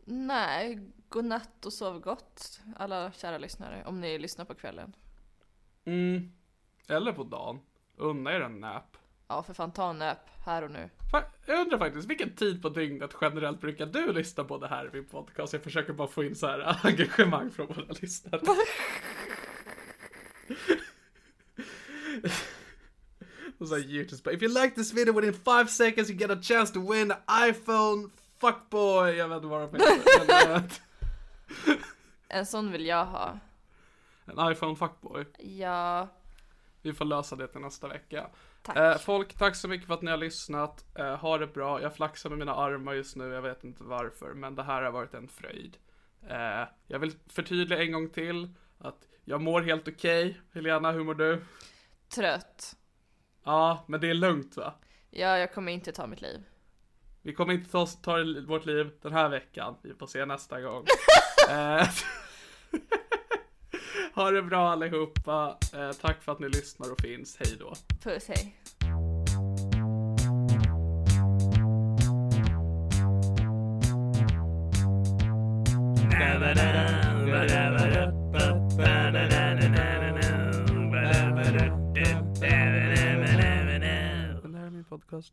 S3: Nej, godnatt och sov gott alla kära lyssnare. Om ni lyssnar på kvällen.
S2: Mm. Eller på dagen. Unna er en nap.
S3: Ja för fan, ta en nap här och nu.
S2: Fa- Jag undrar faktiskt, vilken tid på dygnet generellt brukar du lyssna på det här i min podcast? Jag försöker bara få in så här engagemang från våra lyssnare. Och så här YouTube bara, If you like this video within five seconds you get a chance to win an iPhone fuckboy. Jag vet inte vad de heter. men, eh,
S3: En sån vill jag ha.
S2: En iPhone fuckboy.
S3: Ja,
S2: Vi får lösa det till nästa vecka.
S3: tack.
S2: Eh, folk, tack så mycket för att ni har lyssnat. Eh, ha det bra. Jag flaxar med mina armar just nu, jag vet inte varför, men det här har varit en fröjd. Eh, jag vill förtydliga en gång till att jag mår helt okej. Helena, hur mår du?
S3: Trött.
S2: Ja, men det är lugnt va?
S3: Ja, jag kommer inte ta mitt liv.
S2: Vi kommer inte ta, ta i vårt liv den här veckan. Vi får se nästa gång. eh, Ha det bra allihopa. Eh, tack för att ni lyssnar och finns. Hej då.
S3: Puss, hej.
S2: Den här är min podcast.